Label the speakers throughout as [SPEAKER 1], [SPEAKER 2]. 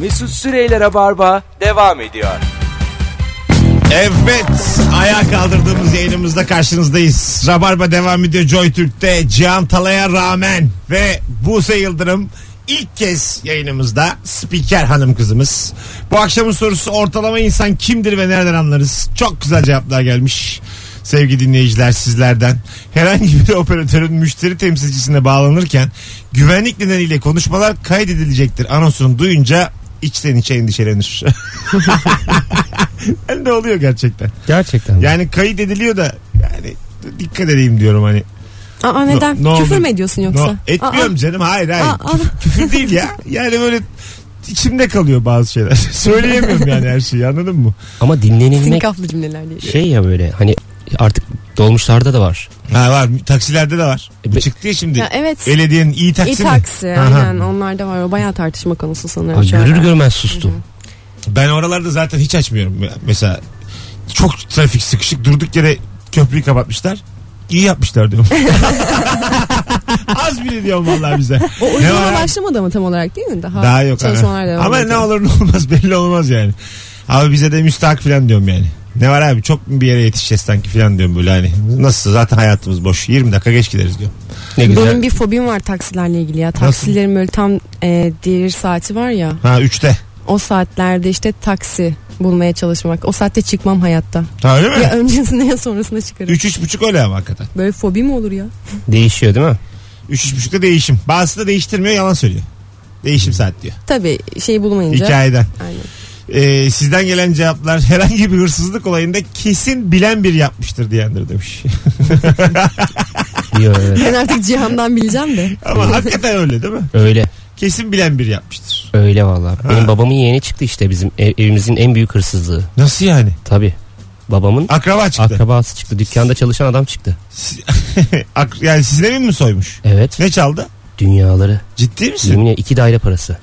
[SPEAKER 1] Mesut Süreyler'e barba devam ediyor.
[SPEAKER 2] Evet ayağa kaldırdığımız yayınımızda karşınızdayız. Rabarba devam ediyor Joy Türk'te Cihan Talay'a rağmen ve Buse Yıldırım ilk kez yayınımızda spiker hanım kızımız. Bu akşamın sorusu ortalama insan kimdir ve nereden anlarız? Çok güzel cevaplar gelmiş. Sevgili dinleyiciler sizlerden herhangi bir operatörün müşteri temsilcisine bağlanırken güvenlik nedeniyle konuşmalar kaydedilecektir anonsunu duyunca içten içe endişelenir. Yani ne oluyor gerçekten?
[SPEAKER 3] Gerçekten.
[SPEAKER 2] Yani kayıt ediliyor da yani dikkat edeyim diyorum hani.
[SPEAKER 4] Aa
[SPEAKER 2] No-
[SPEAKER 4] neden?
[SPEAKER 2] no
[SPEAKER 4] Küfür
[SPEAKER 2] oldu?
[SPEAKER 4] mü ediyorsun
[SPEAKER 2] No,
[SPEAKER 4] yoksa?
[SPEAKER 2] etmiyorum canım hayır hayır.
[SPEAKER 4] Aa, aa.
[SPEAKER 2] Küfür değil ya. Yani böyle içimde kalıyor bazı şeyler. Söyleyemiyorum yani her şeyi anladın mı?
[SPEAKER 3] Ama
[SPEAKER 4] Aa,
[SPEAKER 3] dinlenilmek
[SPEAKER 4] sinkaflı cümleler diye.
[SPEAKER 3] şey ya böyle hani artık dolmuşlarda da var.
[SPEAKER 2] Ha var taksilerde de var.
[SPEAKER 3] E, be-
[SPEAKER 2] Çıktı ya şimdi.
[SPEAKER 4] Ya evet.
[SPEAKER 2] Belediyenin iyi taksi mi?
[SPEAKER 4] İtaksi
[SPEAKER 2] Aha.
[SPEAKER 4] aynen onlarda var. O bayağı tartışma konusu sanırım.
[SPEAKER 3] Abi
[SPEAKER 4] şu
[SPEAKER 3] görür
[SPEAKER 4] ara.
[SPEAKER 3] görmez sustum.
[SPEAKER 2] Ben oralarda zaten hiç açmıyorum. Mesela çok trafik sıkışık durduk yere köprüyü kapatmışlar. İyi yapmışlar diyorum. Az bile diyorum vallahi bize.
[SPEAKER 4] O
[SPEAKER 2] Ne var?
[SPEAKER 4] uygulama başlamadı ama tam olarak değil mi? Daha,
[SPEAKER 2] Daha yok.
[SPEAKER 4] Çalışmalar
[SPEAKER 2] ana.
[SPEAKER 4] devam
[SPEAKER 2] Ama
[SPEAKER 4] ediyor.
[SPEAKER 2] ne olur ne olmaz belli olmaz yani. Abi bize de müstahak falan diyorum yani. Ne var abi çok mu bir yere yetişeceğiz sanki falan diyorum böyle hani. Nasıl zaten hayatımız boş. 20 dakika geç gideriz diyorum.
[SPEAKER 3] Ne güzel.
[SPEAKER 4] Benim bir fobim var taksilerle ilgili ya. Taksilerin böyle tam e, diğer saati var ya.
[SPEAKER 2] Ha 3'te.
[SPEAKER 4] O saatlerde işte taksi bulmaya çalışmak. O saatte çıkmam hayatta.
[SPEAKER 2] Ha öyle mi?
[SPEAKER 4] Ya öncesinde ya sonrasında çıkarım.
[SPEAKER 2] 3 üç buçuk öyle ama hakikaten.
[SPEAKER 4] Böyle fobi mi olur ya?
[SPEAKER 3] Değişiyor değil mi?
[SPEAKER 2] 3 üç buçukta değişim. Bazısı da değiştirmiyor yalan söylüyor. Değişim saat diyor.
[SPEAKER 4] Tabii şey bulmayınca.
[SPEAKER 2] Hikayeden.
[SPEAKER 4] Aynen.
[SPEAKER 2] Ee, sizden gelen cevaplar herhangi bir hırsızlık olayında kesin bilen bir yapmıştır diyendir demiş.
[SPEAKER 3] Diyor evet.
[SPEAKER 4] Ben artık Cihan'dan bileceğim de.
[SPEAKER 2] Ama hakikaten öyle değil mi?
[SPEAKER 3] Öyle.
[SPEAKER 2] Kesin bilen bir yapmıştır.
[SPEAKER 3] Öyle vallahi.
[SPEAKER 2] Ha.
[SPEAKER 3] Benim babamın yeğeni çıktı işte bizim ev- evimizin en büyük hırsızlığı.
[SPEAKER 2] Nasıl yani?
[SPEAKER 3] Tabi. Babamın
[SPEAKER 2] Akraba çıktı.
[SPEAKER 3] akrabası çıktı. Dükkanda çalışan adam çıktı.
[SPEAKER 2] Si- Ak- yani sizin evin mi soymuş?
[SPEAKER 3] Evet.
[SPEAKER 2] Ne çaldı?
[SPEAKER 3] Dünyaları.
[SPEAKER 2] Ciddi misin?
[SPEAKER 3] Yemin ederim iki daire parası.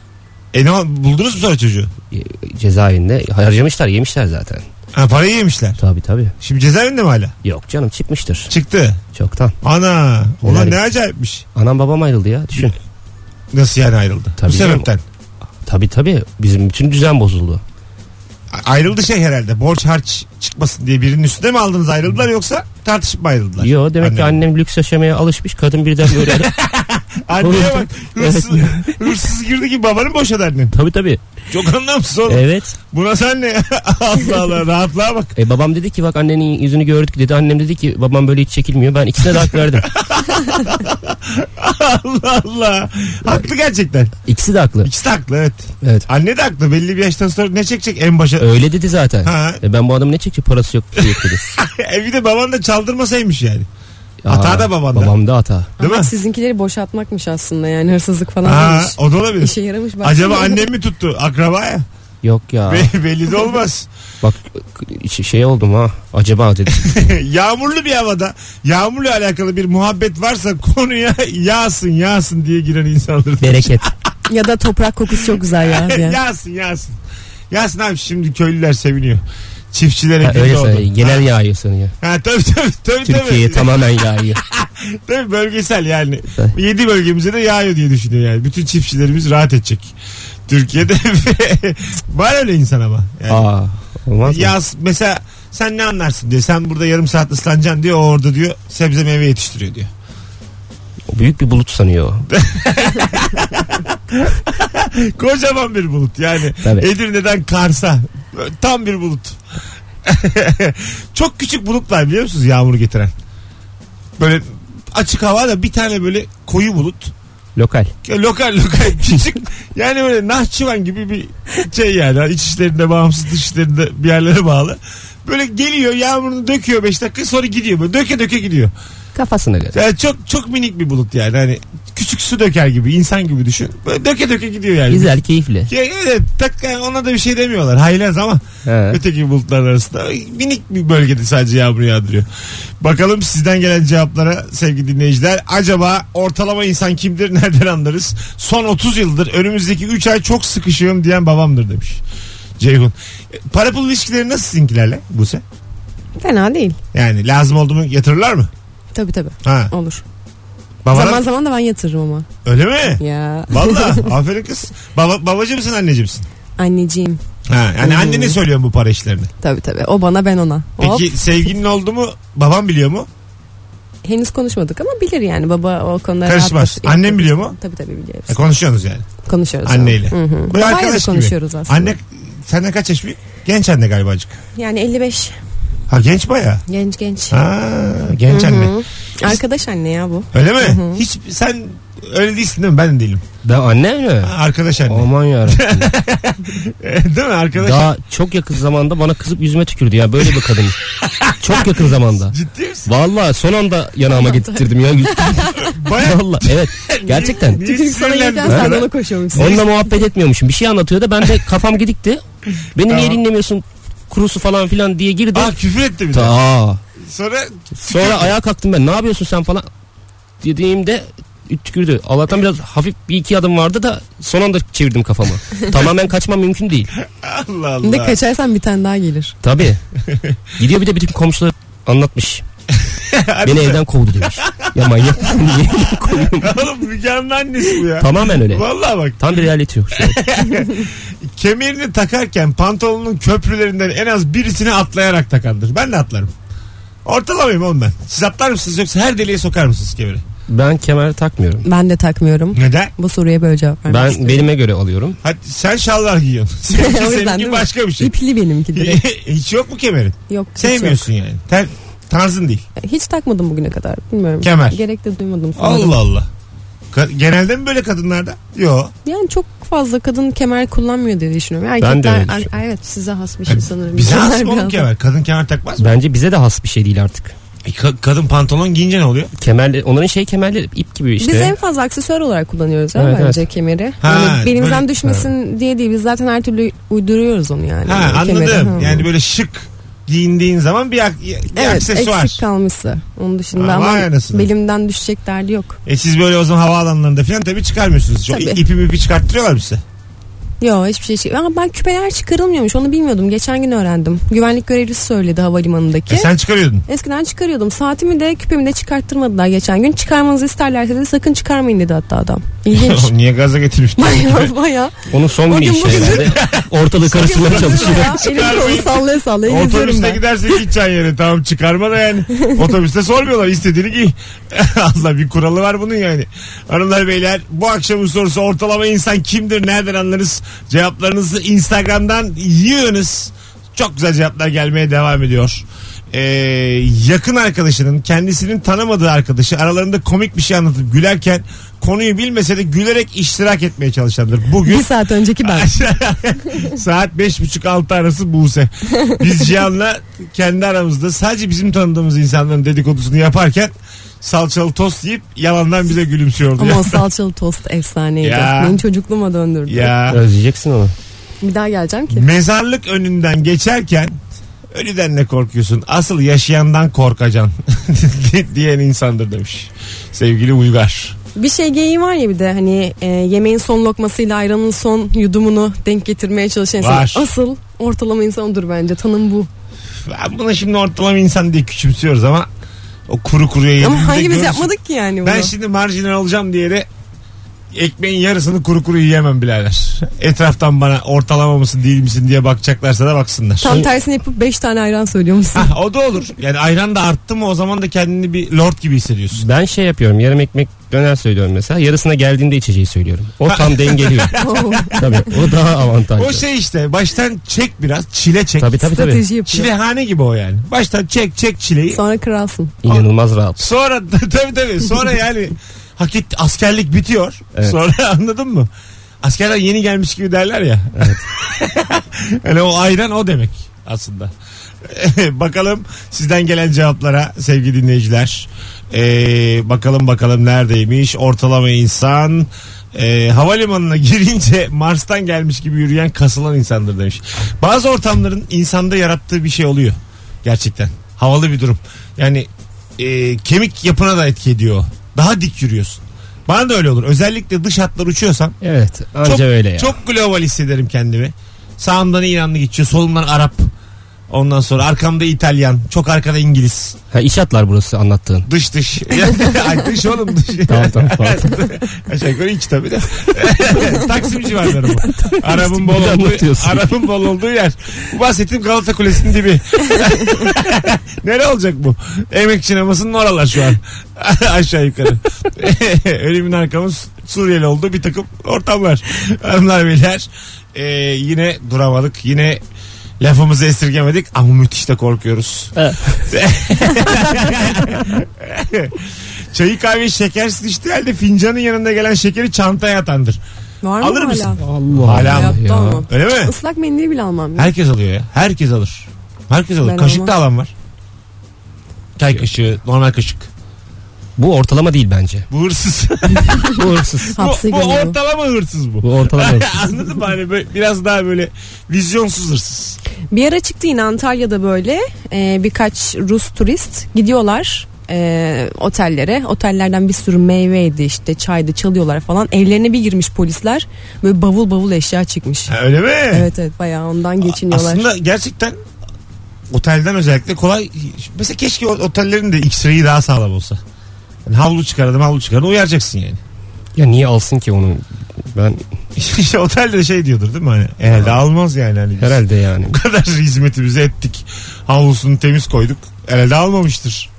[SPEAKER 2] E ne oldu? buldunuz mu sonra çocuğu?
[SPEAKER 3] E, Cezaevinde harcamışlar yemişler zaten.
[SPEAKER 2] Ha parayı yemişler.
[SPEAKER 3] Tabi tabi.
[SPEAKER 2] Şimdi cezaevinde mi hala?
[SPEAKER 3] Yok canım çıkmıştır.
[SPEAKER 2] Çıktı.
[SPEAKER 3] Çoktan.
[SPEAKER 2] Ana. Ulan
[SPEAKER 3] Helal
[SPEAKER 2] ne
[SPEAKER 3] et.
[SPEAKER 2] acayipmiş.
[SPEAKER 3] Anam babam ayrıldı ya düşün.
[SPEAKER 2] Nasıl yani ayrıldı?
[SPEAKER 3] Tabii
[SPEAKER 2] Bu
[SPEAKER 3] canım.
[SPEAKER 2] sebepten.
[SPEAKER 3] Tabi tabi bizim bütün düzen bozuldu.
[SPEAKER 2] A- Ayrıldı şey herhalde. Borç harç çıkmasın diye birinin üstüne mi aldınız ayrıldılar yoksa tartışıp mı ayrıldılar?
[SPEAKER 3] Yo demek ki
[SPEAKER 2] Annem.
[SPEAKER 3] annem lüks yaşamaya alışmış kadın birden böyle.
[SPEAKER 2] Anneye bak
[SPEAKER 3] Evet.
[SPEAKER 2] hırsız, hırsız girdi ki babanı boşadı annen.
[SPEAKER 3] tabi tabi.
[SPEAKER 2] Çok anlamsız oğlum.
[SPEAKER 3] Evet.
[SPEAKER 2] Buna sen ne? Allah Allah rahatlığa bak.
[SPEAKER 3] E, babam dedi ki bak annenin yüzünü gördük dedi. Annem dedi ki babam böyle hiç çekilmiyor. Ben ikisine de hak verdim.
[SPEAKER 2] Allah Allah. Haklı gerçekten.
[SPEAKER 3] İkisi de haklı.
[SPEAKER 2] İkisi de haklı evet.
[SPEAKER 3] Evet.
[SPEAKER 2] Anne de haklı belli bir yaştan sonra ne çekecek en başa.
[SPEAKER 3] Öyle dedi zaten.
[SPEAKER 2] Ha.
[SPEAKER 3] E, ben bu adamı ne çekeceğim parası yok diye dedi.
[SPEAKER 2] E bir de baban da çaldırmasaymış yani.
[SPEAKER 3] Ya,
[SPEAKER 2] Hata da babanda.
[SPEAKER 3] Babamda hata.
[SPEAKER 2] Değil
[SPEAKER 4] Ama
[SPEAKER 2] mi?
[SPEAKER 4] sizinkileri boşaltmakmış aslında yani hırsızlık falan
[SPEAKER 2] Ha,
[SPEAKER 4] değilmiş.
[SPEAKER 2] o da olabilir.
[SPEAKER 4] İşe yaramış. baksana.
[SPEAKER 2] Acaba annem mi tuttu? Akrabaya?
[SPEAKER 3] Yok ya.
[SPEAKER 2] Be- belli de olmaz.
[SPEAKER 3] Bak ş- şey oldum ha. Acaba dedim.
[SPEAKER 2] Yağmurlu bir havada yağmurla alakalı bir muhabbet varsa konuya yağsın yağsın diye giren insanlar.
[SPEAKER 3] Bereket.
[SPEAKER 4] Ya da toprak kokusu çok güzel ya. diye.
[SPEAKER 2] yağsın yağsın. Yağsın abi şimdi köylüler seviniyor. Çiftçilere
[SPEAKER 3] Ha,
[SPEAKER 2] gün
[SPEAKER 3] öyle
[SPEAKER 2] doğdu.
[SPEAKER 3] sanıyor. Genel yağıyor sanıyor.
[SPEAKER 2] Ha, ha, tabii tabii tabii.
[SPEAKER 3] Türkiye'ye
[SPEAKER 2] tabii.
[SPEAKER 3] tamamen yağıyor.
[SPEAKER 2] Tabii bölgesel yani.
[SPEAKER 3] Tabii.
[SPEAKER 2] 7 bölgemize de yağıyor diye düşünüyor yani. Bütün çiftçilerimiz rahat edecek. Türkiye'de var öyle insan ama. Yani
[SPEAKER 3] Aa, olmaz mı?
[SPEAKER 2] yaz mesela sen ne anlarsın diyor. Sen burada yarım saat ıslanacaksın diyor. O orada diyor sebze meyve yetiştiriyor diyor.
[SPEAKER 3] Büyük bir bulut sanıyor. o.
[SPEAKER 2] Kocaman bir bulut yani.
[SPEAKER 3] Tabii.
[SPEAKER 2] Edirne'den Kars'a tam bir bulut. Çok küçük bulutlar biliyor musunuz yağmur getiren? Böyle açık havada bir tane böyle koyu bulut.
[SPEAKER 3] Lokal.
[SPEAKER 2] Ya lokal lokal küçük yani böyle nahçıvan gibi bir şey yani iç işlerinde bağımsız dış işlerinde bir yerlere bağlı. Böyle geliyor yağmurunu döküyor 5 dakika sonra gidiyor böyle döke döke gidiyor.
[SPEAKER 3] Kafasına göre.
[SPEAKER 2] Yani çok çok minik bir bulut yani hani küçük su döker gibi insan gibi düşün. Böyle döke döke gidiyor yani.
[SPEAKER 3] Güzel, keyifli.
[SPEAKER 2] Ya evet tak yani ona da bir şey demiyorlar haylaz ama
[SPEAKER 3] He.
[SPEAKER 2] öteki bulutlar arasında minik bir bölgede sadece yağmur yağdırıyor. Bakalım sizden gelen cevaplara sevgili dinleyiciler. Acaba ortalama insan kimdir nereden anlarız? Son 30 yıldır önümüzdeki 3 ay çok sıkışığım diyen babamdır demiş. Ceyhun. E, Para pul ilişkileri nasıl sizinkilerle Buse?
[SPEAKER 4] Fena değil.
[SPEAKER 2] Yani lazım oldu mu yatırırlar mı?
[SPEAKER 4] Tabii tabii.
[SPEAKER 2] Ha.
[SPEAKER 4] Olur.
[SPEAKER 2] Babana,
[SPEAKER 4] Zaman zaman da ben yatırırım ama.
[SPEAKER 2] Öyle mi?
[SPEAKER 4] Ya.
[SPEAKER 2] Valla aferin kız. Baba, babacı mısın anneci misin?
[SPEAKER 4] Anneciğim.
[SPEAKER 2] Ha, yani annene söylüyorum bu para işlerini.
[SPEAKER 4] Tabii tabii. O bana ben ona. Hmm. Hop.
[SPEAKER 2] Peki sevgilin oldu mu? Babam biliyor mu?
[SPEAKER 4] Henüz konuşmadık ama bilir yani baba o konuda
[SPEAKER 2] Karışmaz.
[SPEAKER 4] rahattır.
[SPEAKER 2] Annem biliyor mu?
[SPEAKER 4] Tabii tabii biliyor.
[SPEAKER 2] E, konuşuyorsunuz yani.
[SPEAKER 4] Konuşuyoruz.
[SPEAKER 2] Anneyle.
[SPEAKER 4] Hı hı.
[SPEAKER 2] Böyle
[SPEAKER 4] Bayağı da
[SPEAKER 2] arkadaş gibi.
[SPEAKER 4] konuşuyoruz aslında.
[SPEAKER 2] Anne senden kaç yaş büyük? Genç anne galiba acık.
[SPEAKER 4] Yani 55.
[SPEAKER 2] Ha genç baya.
[SPEAKER 4] Genç genç.
[SPEAKER 2] Ha genç anne.
[SPEAKER 4] Arkadaş anne ya bu.
[SPEAKER 2] Öyle mi? Hiç sen öyle değilsin değil mi? Ben de değilim.
[SPEAKER 3] Da annem mi?
[SPEAKER 2] Ha, Arkadaş anne.
[SPEAKER 3] Aman yarabbim.
[SPEAKER 2] değil mi arkadaş?
[SPEAKER 3] Daha çok yakın zamanda bana kızıp yüzüme tükürdü ya böyle bir kadın. çok yakın zamanda.
[SPEAKER 2] Ciddi misin?
[SPEAKER 3] Vallahi son anda yanağıma getirdim ya.
[SPEAKER 2] Baya
[SPEAKER 3] Vallahi evet gerçekten.
[SPEAKER 2] Niye
[SPEAKER 4] Çünkü sana
[SPEAKER 2] sinirlendin?
[SPEAKER 4] yeten sen de ona koşuyormuşsun.
[SPEAKER 3] Onunla muhabbet etmiyormuşum. Bir şey anlatıyor da ben de kafam gidikti. Beni niye
[SPEAKER 2] Tamam. Ah.
[SPEAKER 3] dinlemiyorsun kurusu falan filan diye girdi.
[SPEAKER 2] Aa küfür etti bir de.
[SPEAKER 3] Ta.
[SPEAKER 2] Sonra
[SPEAKER 3] Sonra ayağa kalktım ben. Ne yapıyorsun sen falan dediğimde tükürdü. Allah'tan biraz hafif bir iki adım vardı da son anda çevirdim kafamı. Tamamen kaçmam mümkün değil.
[SPEAKER 2] Allah
[SPEAKER 4] Bir de
[SPEAKER 2] Allah.
[SPEAKER 4] kaçarsan bir tane daha gelir.
[SPEAKER 3] Tabii. Gidiyor bir de bütün komşular anlatmış. Beni evden kovdu demiş. Ya manyak mısın? Niye evden kovuyorsun?
[SPEAKER 2] Oğlum Müge Anlı annesi bu ya.
[SPEAKER 3] Tamamen öyle.
[SPEAKER 2] Vallahi bak
[SPEAKER 3] Tam bir reality yok.
[SPEAKER 2] kemerini takarken pantolonun köprülerinden en az birisini atlayarak takandır. Ben de atlarım. Ortalamayım oğlum ben. Siz atlar mısınız yoksa her deliğe sokar mısınız kemeri?
[SPEAKER 3] Ben kemer takmıyorum.
[SPEAKER 4] Ben de takmıyorum.
[SPEAKER 2] Neden?
[SPEAKER 4] Bu soruya böyle cevap vermek
[SPEAKER 3] Ben
[SPEAKER 4] istiyorum.
[SPEAKER 3] belime göre alıyorum.
[SPEAKER 2] Hadi sen şallar giyiyorsun. Seninki,
[SPEAKER 4] O yüzden
[SPEAKER 2] seninki
[SPEAKER 4] değil mi?
[SPEAKER 2] başka bir şey.
[SPEAKER 4] İpli benimki direkt.
[SPEAKER 2] hiç yok mu kemerin?
[SPEAKER 4] Yok. hiç
[SPEAKER 2] Sevmiyorsun yani. Ter, tarzın değil.
[SPEAKER 4] yok. Hiç takmadım bugüne kadar. Bilmiyorum.
[SPEAKER 2] Kemer.
[SPEAKER 4] Gerek de duymadım. sanırım.
[SPEAKER 2] Allah Allah. Ka- Genelde mi böyle kadınlarda? Yok.
[SPEAKER 4] Yani çok fazla kadın kemer kullanmıyor diye düşünüyorum.
[SPEAKER 3] de öyle
[SPEAKER 4] Erkekler,
[SPEAKER 3] düşünüyorum.
[SPEAKER 4] Ay- evet size has bir şey sanırım.
[SPEAKER 2] Bize
[SPEAKER 4] Kemer
[SPEAKER 2] has mı oğlum
[SPEAKER 4] biraz-
[SPEAKER 2] kemer? Kadın kemer takmaz mı?
[SPEAKER 3] Bence bize de has bir şey değil artık.
[SPEAKER 2] E, ka- kadın pantolon giyince ne oluyor?
[SPEAKER 3] Kemerli, onların şey kemerli ip gibi işte.
[SPEAKER 4] Biz en fazla aksesuar olarak kullanıyoruz ya
[SPEAKER 3] Evet,
[SPEAKER 4] bence kemeri.
[SPEAKER 2] Ha,
[SPEAKER 4] yani belimizden
[SPEAKER 2] böyle-
[SPEAKER 4] düşmesin diye değil. Biz zaten her türlü uyduruyoruz onu yani.
[SPEAKER 2] Ha
[SPEAKER 4] Kemeri,
[SPEAKER 2] anladım.
[SPEAKER 4] ha.
[SPEAKER 2] Yani böyle şık giyindiğin zaman bir, ak- bir
[SPEAKER 4] evet,
[SPEAKER 2] aksesuar.
[SPEAKER 4] eksik kalmışsa. Onun
[SPEAKER 2] Ha,
[SPEAKER 4] dışında ama
[SPEAKER 2] vay anasını.
[SPEAKER 4] belimden düşecek derdi yok.
[SPEAKER 2] E siz böyle o zaman havaalanlarında falan tabii çıkarmıyorsunuz. Çok
[SPEAKER 4] Tabii.
[SPEAKER 2] ipi mipi çıkarttırıyorlar mı size?
[SPEAKER 4] Yok hiçbir şey çıkmıyor. Ama ben küpeler çıkarılmıyormuş onu bilmiyordum. Geçen gün öğrendim. Güvenlik görevlisi söyledi havalimanındaki.
[SPEAKER 2] E, sen çıkarıyordun.
[SPEAKER 4] Eskiden çıkarıyordum. Saatimi de küpemi de çıkarttırmadılar geçen gün. Çıkarmanızı isterlerse de sakın çıkarmayın dedi hatta adam. İlginç.
[SPEAKER 2] Niye gaza getirmiştin?
[SPEAKER 4] Baya baya.
[SPEAKER 3] Onun son bir
[SPEAKER 4] Bugün
[SPEAKER 3] işi
[SPEAKER 4] bugün-
[SPEAKER 3] herhalde. Ortalığı karıştırmaya çalışıyor.
[SPEAKER 4] Ya, Elimi kolumu sallaya sallaya geziyorum
[SPEAKER 2] Otobüste
[SPEAKER 4] ben.
[SPEAKER 2] gidersin gideceksin yere tamam çıkarma da yani. Otobüste sormuyorlar istediğini giy. Allah bir kuralı var bunun yani. Hanımlar beyler bu akşamın sorusu ortalama insan kimdir nereden anlarız? Cevaplarınızı Instagram'dan yığınız. Çok güzel cevaplar gelmeye devam ediyor. Ee, yakın arkadaşının kendisinin tanımadığı arkadaşı aralarında komik bir şey anlatıp gülerken konuyu bilmese de gülerek iştirak etmeye çalışandır. Bugün
[SPEAKER 4] Bir saat önceki ben.
[SPEAKER 2] Saat 5.30-6 arası Buse. Biz Cihan'la kendi aramızda sadece bizim tanıdığımız insanların dedikodusunu yaparken salçalı tost yiyip yalandan bize gülümsüyordu.
[SPEAKER 4] Ama
[SPEAKER 2] ya.
[SPEAKER 4] o salçalı tost efsaneydi.
[SPEAKER 2] Ya.
[SPEAKER 4] Beni çocukluğuma döndürdü.
[SPEAKER 2] ya.
[SPEAKER 3] Özleyeceksin onu.
[SPEAKER 4] Bir daha geleceğim ki.
[SPEAKER 2] Mezarlık önünden geçerken ölüden ne korkuyorsun? Asıl yaşayandan korkacan diyen insandır demiş. Sevgili Uygar.
[SPEAKER 4] Bir şey geyiği var ya bir de hani e, yemeğin son lokmasıyla ayranın son yudumunu denk getirmeye çalışan insan.
[SPEAKER 2] Var.
[SPEAKER 4] Asıl ortalama insan odur bence. Tanım bu.
[SPEAKER 2] Ben bunu şimdi ortalama insan diye küçümsüyoruz ama o kuru kuruya yediğimizde
[SPEAKER 4] Ama hangimiz
[SPEAKER 2] görürsün.
[SPEAKER 4] yapmadık ki yani bunu?
[SPEAKER 2] Ben şimdi marjinal olacağım diye de ekmeğin yarısını kuru kuru yiyemem birader. Etraftan bana ortalama mısın değil misin diye bakacaklarsa da baksınlar.
[SPEAKER 4] Tam tersini yapıp 5 tane ayran söylüyormuşsun.
[SPEAKER 2] Ha, o da olur. Yani ayran da arttı mı o zaman da kendini bir lord gibi hissediyorsun.
[SPEAKER 3] Ben şey yapıyorum yarım ekmek döner söylüyorum mesela. Yarısına geldiğinde içeceği söylüyorum. O tam dengeliyor.
[SPEAKER 4] Oo,
[SPEAKER 3] tabii o daha avantajlı.
[SPEAKER 2] O şey işte baştan çek biraz çile çek.
[SPEAKER 3] Tabii tabii tabii.
[SPEAKER 4] Strateji yapıyor.
[SPEAKER 2] Çilehane gibi o yani. Baştan çek çek çileyi.
[SPEAKER 4] Sonra kralsın.
[SPEAKER 3] İnanılmaz rahat.
[SPEAKER 2] Sonra tabii tabii sonra yani hak et, askerlik bitiyor.
[SPEAKER 3] Evet.
[SPEAKER 2] Sonra anladın mı? Askerler yeni gelmiş gibi derler ya. yani o ayran o demek aslında. bakalım sizden gelen cevaplara sevgili dinleyiciler. Ee, bakalım bakalım neredeymiş ortalama insan. Ee, havalimanına girince Mars'tan gelmiş gibi yürüyen kasılan insandır demiş. Bazı ortamların insanda yarattığı bir şey oluyor gerçekten. Havalı bir durum. Yani e, kemik yapına da etki ediyor. o. Daha dik yürüyorsun. Bana da öyle olur. Özellikle dış hatlar uçuyorsan
[SPEAKER 3] Evet anca
[SPEAKER 2] çok,
[SPEAKER 3] öyle ya.
[SPEAKER 2] Çok global hissederim kendimi. Sağımdan İranlı geçiyor, solumdan Arap. Ondan sonra arkamda İtalyan. Çok arkada İngiliz.
[SPEAKER 3] Ha, işatlar burası anlattığın.
[SPEAKER 2] Dış dış. Ay dış oğlum dış.
[SPEAKER 3] Tamam tamam. tamam.
[SPEAKER 2] Aşağı yukarı iki tabii de. Taksim civarları bu. Arabın bol
[SPEAKER 3] Bir de
[SPEAKER 2] olduğu,
[SPEAKER 3] anlatıyorsun.
[SPEAKER 2] arabın bol olduğu yer. Bu bahsettiğim Galata Kulesi'nin dibi. Nere olacak bu? Emek sinemasının oralar şu an. Aşağı yukarı. Önümün arkamız Suriyeli olduğu bir takım ortamlar. Hanımlar beyler e, yine duramadık. Yine lafımızı esirgemedik ama müthiş de korkuyoruz.
[SPEAKER 3] Evet.
[SPEAKER 2] Çayı kahveyi şekersiz içtiği halde fincanın yanında gelen şekeri çantaya atandır.
[SPEAKER 4] Var mı
[SPEAKER 2] Alır
[SPEAKER 4] hala?
[SPEAKER 2] mısın?
[SPEAKER 3] Allah
[SPEAKER 2] Hala
[SPEAKER 3] Allah
[SPEAKER 2] mı?
[SPEAKER 4] Hayatta
[SPEAKER 3] ya.
[SPEAKER 4] olmam.
[SPEAKER 2] Öyle mi?
[SPEAKER 4] Islak mendil bile almam. ya.
[SPEAKER 2] Herkes alıyor ya. Herkes alır. Herkes alır.
[SPEAKER 4] Ben
[SPEAKER 2] Kaşık
[SPEAKER 4] almam.
[SPEAKER 2] da alan var. Çay kaşığı, normal kaşık.
[SPEAKER 3] Bu ortalama değil bence.
[SPEAKER 2] Bu hırsız.
[SPEAKER 3] Bu hırsız.
[SPEAKER 2] bu,
[SPEAKER 4] Hapse
[SPEAKER 2] bu
[SPEAKER 4] giriyor.
[SPEAKER 2] ortalama hırsız bu.
[SPEAKER 3] Bu ortalama hırsız.
[SPEAKER 2] Anladın mı? Hani böyle, biraz daha böyle vizyonsuz hırsız.
[SPEAKER 4] Bir ara çıktı yine Antalya'da böyle e, birkaç Rus turist gidiyorlar e, otellere. Otellerden bir sürü meyveydi işte çaydı çalıyorlar falan. Evlerine bir girmiş polisler böyle bavul bavul eşya çıkmış.
[SPEAKER 2] Ha, öyle mi?
[SPEAKER 4] Evet evet bayağı ondan geçiniyorlar.
[SPEAKER 2] Aslında gerçekten otelden özellikle kolay. Mesela keşke o- otellerin de X-ray'i daha sağlam olsa. Yani havlu çıkardım havlu çıkardım uyaracaksın yani.
[SPEAKER 3] Ya niye alsın ki onu? Ben
[SPEAKER 2] İşte otelde de şey diyordur değil mi hani? Herhalde almaz yani. Hani biz
[SPEAKER 3] herhalde yani.
[SPEAKER 2] Bu kadar hizmetimizi ettik. Havlusunu temiz koyduk. Herhalde almamıştır.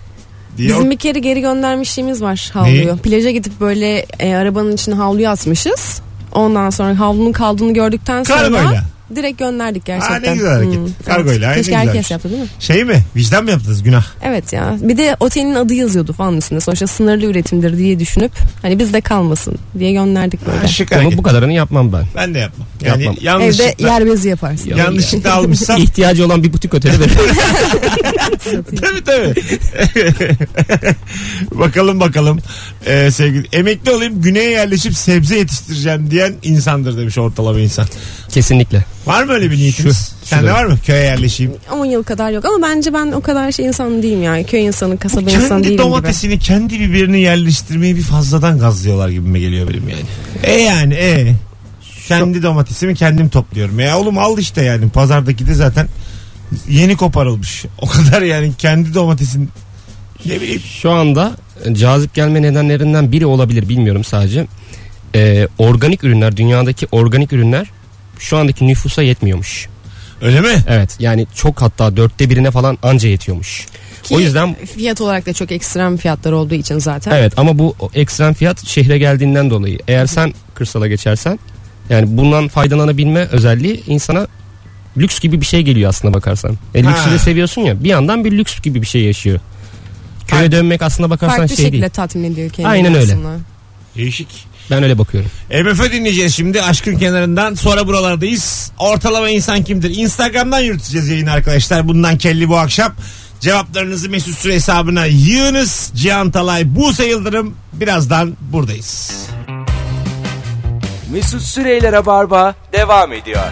[SPEAKER 2] Diye
[SPEAKER 4] Bizim bir kere geri göndermişliğimiz var
[SPEAKER 2] Neyi?
[SPEAKER 4] havluyu. Plaja gidip böyle e, arabanın içine havluyu atmışız. Ondan sonra havlunun kaldığını gördükten sonra
[SPEAKER 2] Kargoyla.
[SPEAKER 4] direkt gönderdik gerçekten. Hmm,
[SPEAKER 2] Aa, ne güzel hareket. Kargoyla,
[SPEAKER 4] Evet.
[SPEAKER 2] ay, ne
[SPEAKER 4] Keşke
[SPEAKER 2] güzelmiş.
[SPEAKER 4] herkes yaptı değil mi?
[SPEAKER 2] Şey mi? Vicdan mı yaptınız? Günah.
[SPEAKER 4] Evet ya. Bir de otelin adı yazıyordu falan üstünde. Sonuçta sınırlı üretimdir diye düşünüp hani bizde kalmasın diye gönderdik böyle.
[SPEAKER 2] Şık
[SPEAKER 3] Ama
[SPEAKER 2] hareket.
[SPEAKER 3] bu kadarını yapmam ben.
[SPEAKER 2] Ben de yapmam. Yani
[SPEAKER 3] Yapmam.
[SPEAKER 4] Evde
[SPEAKER 2] yanlışlıkla,
[SPEAKER 4] yer bezi yaparsın.
[SPEAKER 2] yanlışlıkla almışsam
[SPEAKER 3] İhtiyacı olan bir butik oteli ver.
[SPEAKER 2] tabii tabii. bakalım bakalım. Ee, sevgili emekli olayım güneye yerleşip sebze yetiştireceğim diyen insandır demiş ortalama insan.
[SPEAKER 3] Kesinlikle.
[SPEAKER 2] Var mı öyle bir niyetiniz?
[SPEAKER 3] Şu- şu
[SPEAKER 2] Sende
[SPEAKER 3] da-
[SPEAKER 2] var mı? Köye yerleşeyim.
[SPEAKER 4] 10 yıl kadar yok ama bence ben o kadar şey insan değilim yani. Köy insanı, kasaba insanı değilim
[SPEAKER 2] kendi
[SPEAKER 4] domates...
[SPEAKER 2] domatesini kendi biberini yerleştirmeyi bir fazladan gazlıyorlar gibime geliyor benim yani. E yani e. Kendi domatesimi kendim topluyorum. Ya oğlum al işte yani pazardaki de zaten yeni koparılmış. O kadar yani kendi domatesin ne bileyim.
[SPEAKER 3] Şu anda e, cazip gelme nedenlerinden biri olabilir bilmiyorum sadece. Ee, organik ürünler dünyadaki organik ürünler şu andaki nüfusa yetmiyormuş.
[SPEAKER 2] Öyle mi?
[SPEAKER 3] Evet yani çok hatta dörtte birine falan anca yetiyormuş.
[SPEAKER 4] Ki-
[SPEAKER 3] O yüzden
[SPEAKER 4] gibi. Fiyat olarak da çok ekstrem fiyatlar olduğu için zaten.
[SPEAKER 3] evet ama bu ekstrem fiyat şehre geldiğinden dolayı. Eğer sen kırsala geçersen yani bundan faydalanabilme özelliği insana lüks gibi bir şey geliyor aslında bakarsan. E, lüksü
[SPEAKER 2] Ha.
[SPEAKER 3] de seviyorsun ya bir yandan bir lüks gibi bir şey yaşıyor. Köye dönmek aslında bakarsan
[SPEAKER 4] Farklı
[SPEAKER 3] şey
[SPEAKER 4] şekilde
[SPEAKER 3] değil.
[SPEAKER 4] tatmin ediyor kendini
[SPEAKER 3] Aynen öyle.
[SPEAKER 4] aslında.
[SPEAKER 2] Değişik.
[SPEAKER 3] Ben öyle bakıyorum.
[SPEAKER 2] MF E dinleyeceğiz şimdi aşkın kenarından sonra buralardayız. Ortalama insan kimdir? Instagram'dan yürüteceğiz yayını arkadaşlar. Bundan kelli bu akşam. Cevaplarınızı Mesut Süre hesabına yığınız. Cihan Talay, Buse Yıldırım birazdan buradayız.
[SPEAKER 1] Mesut Süreyler'e barba devam ediyor.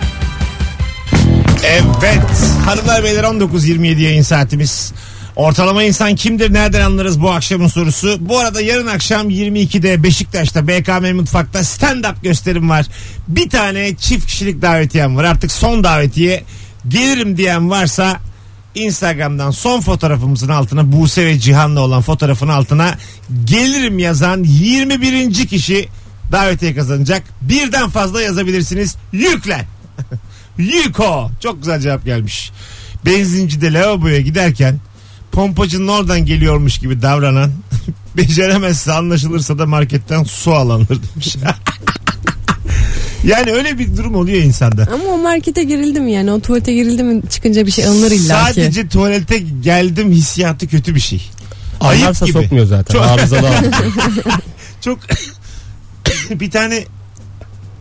[SPEAKER 2] Evet hanımlar beyler 19.27 yayın saatimiz. Ortalama insan kimdir nereden anlarız bu akşamın sorusu. Bu arada yarın akşam 22'de Beşiktaş'ta BKM Mutfak'ta stand-up gösterim var. Bir tane çift kişilik davetiyem var artık son davetiye gelirim diyen varsa Instagram'dan son fotoğrafımızın altına Buse ve Cihan'la olan fotoğrafın altına gelirim yazan 21. kişi davetiye kazanacak. Birden fazla yazabilirsiniz. Yüklen. Yiko. Çok güzel cevap gelmiş. Benzincide lavaboya giderken pompacının oradan geliyormuş gibi davranan beceremezse anlaşılırsa da marketten su alanır demiş. yani öyle bir durum oluyor insanda.
[SPEAKER 4] Ama o markete girildim yani o tuvalete girildim çıkınca bir şey alınır illa ki.
[SPEAKER 2] Sadece tuvalete geldim hissiyatı kötü bir şey. Ayıp
[SPEAKER 3] Anlarsa
[SPEAKER 2] gibi.
[SPEAKER 3] sokmuyor zaten.
[SPEAKER 2] Çok-
[SPEAKER 3] Arızalı adam.
[SPEAKER 2] Çok bir tane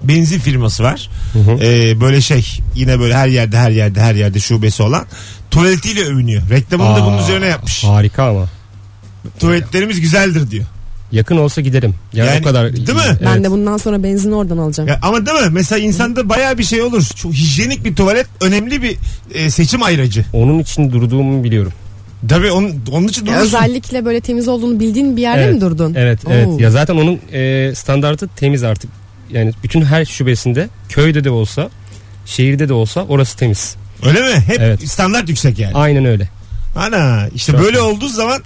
[SPEAKER 2] benzin firması var.
[SPEAKER 3] Hı hı.
[SPEAKER 2] Ee, böyle şey yine böyle her yerde her yerde her yerde şubesi olan tuvaletiyle övünüyor. Reklamını da bunun
[SPEAKER 3] Aa,
[SPEAKER 2] üzerine yapmış.
[SPEAKER 3] Harika ama.
[SPEAKER 2] Tuvaletlerimiz güzeldir diyor.
[SPEAKER 3] Yakın olsa giderim. Yani,
[SPEAKER 2] Yani,
[SPEAKER 3] o kadar.
[SPEAKER 2] değil mi?
[SPEAKER 3] Evet.
[SPEAKER 4] Ben de bundan sonra benzin oradan alacağım.
[SPEAKER 2] Ya ama değil mi? Mesela insanda baya bir şey olur. Çok hijyenik bir tuvalet önemli bir e, seçim ayracı.
[SPEAKER 3] Onun için durduğumu biliyorum.
[SPEAKER 2] Tabii onun, onun için
[SPEAKER 4] Ya
[SPEAKER 2] durursun.
[SPEAKER 4] özellikle böyle temiz olduğunu bildiğin bir yerde
[SPEAKER 3] Evet,
[SPEAKER 4] mi durdun?
[SPEAKER 3] Evet,
[SPEAKER 4] Oo.
[SPEAKER 3] evet. Ya zaten onun e, standartı temiz artık. Yani bütün her şubesinde köyde de olsa, şehirde de olsa orası temiz.
[SPEAKER 2] Öyle mi? Hep
[SPEAKER 3] Evet.
[SPEAKER 2] standart yüksek yani.
[SPEAKER 3] Aynen öyle.
[SPEAKER 2] Ana işte
[SPEAKER 3] Çok
[SPEAKER 2] böyle
[SPEAKER 3] iyi.
[SPEAKER 2] olduğu zaman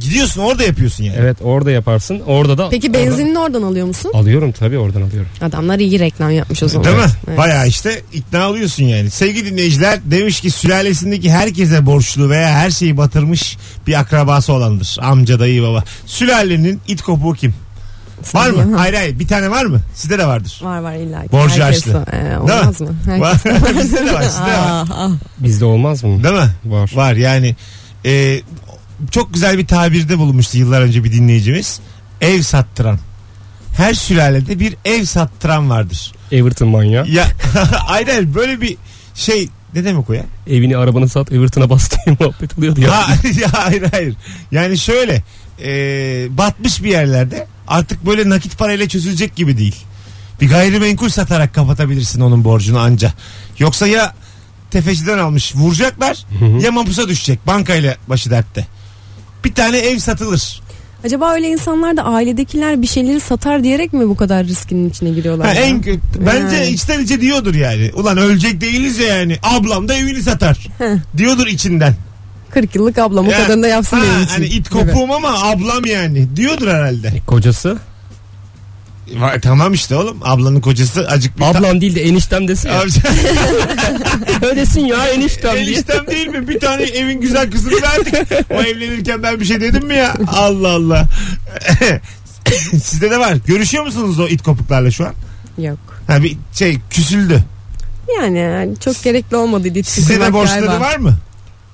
[SPEAKER 2] gidiyorsun orada yapıyorsun yani.
[SPEAKER 3] Evet orada yaparsın. Orada da
[SPEAKER 4] Peki benzinini oradan alıyor musun?
[SPEAKER 3] Oradan- alıyorum tabii oradan alıyorum.
[SPEAKER 4] Adamlar iyi reklam yapmış o zaman.
[SPEAKER 2] Değil mi?
[SPEAKER 4] Evet.
[SPEAKER 2] Bayağı işte ikna oluyorsun yani. Sevgili dinleyiciler demiş ki sülalesindeki herkese borçlu veya her şeyi batırmış bir akrabası olandır. Amca, dayı, baba. Sülalenin it kopuğu kim? Var mı? Hayır hayır. Bir tane var mı? Sizde de vardır.
[SPEAKER 4] Var var illa ki.
[SPEAKER 2] Borcu
[SPEAKER 4] Herkes
[SPEAKER 2] açlı.
[SPEAKER 4] o. Ee, olmaz mı? Herkes-
[SPEAKER 2] Var. Bizde de var. Sizde de var.
[SPEAKER 4] Ah, ah.
[SPEAKER 3] Bizde olmaz mı?
[SPEAKER 2] Değil mi?
[SPEAKER 3] Var.
[SPEAKER 2] Var yani. e, çok güzel bir tabirde bulunmuştu yıllar önce bir dinleyicimiz. Ev sattıran. Her sülalede bir ev sattıran vardır.
[SPEAKER 3] Everton manyağı.
[SPEAKER 2] Ya aynen böyle bir şey ne demek o ya?
[SPEAKER 3] Evini arabanı sat Everton'a bas diye muhabbet oluyordu ya.
[SPEAKER 2] Ha, ya hayır hayır. Yani şöyle e, batmış bir yerlerde artık böyle nakit parayla çözülecek gibi değil. Bir gayrimenkul satarak kapatabilirsin onun borcunu anca. Yoksa ya tefeciden almış vuracaklar
[SPEAKER 3] Hı hı.
[SPEAKER 2] ya mapusa düşecek bankayla başı dertte. Bir tane ev satılır.
[SPEAKER 4] Acaba öyle insanlar da ailedekiler bir şeyleri satar diyerek mi bu kadar riskinin içine giriyorlar?
[SPEAKER 2] Ha,
[SPEAKER 4] ya?
[SPEAKER 2] en kötü. Bence
[SPEAKER 4] Yani.
[SPEAKER 2] içten içe diyordur yani. Ulan ölecek değiliz ya yani. Ablam da evini satar. diyordur içinden.
[SPEAKER 4] 40 yıllık ablam o
[SPEAKER 2] Ya,
[SPEAKER 4] kadarını da yapsın
[SPEAKER 2] Ha,
[SPEAKER 4] benim için.
[SPEAKER 2] hani it
[SPEAKER 4] Evet.
[SPEAKER 2] kopuğum ama ablam yani. Diyordur herhalde.
[SPEAKER 3] E, Kocası.
[SPEAKER 2] Vay, tamam işte oğlum. Ablanın kocası acık bir...
[SPEAKER 3] Ablam değil de eniştem desin ya.
[SPEAKER 2] Amca-
[SPEAKER 3] Öylesin ya eniştem diye.
[SPEAKER 2] Eniştem değil mi? Bir tane evin güzel kızını verdik. O evlenirken ben bir şey dedim mi ya? Allah Allah. Sizde de var. Görüşüyor musunuz o it kopuklarla şu an?
[SPEAKER 4] Yok.
[SPEAKER 2] Ha bir şey küsüldü.
[SPEAKER 4] Yani, yani çok gerekli olmadı ilişki
[SPEAKER 2] Size de
[SPEAKER 4] kurmak
[SPEAKER 2] borçları
[SPEAKER 4] galiba.
[SPEAKER 2] var mı?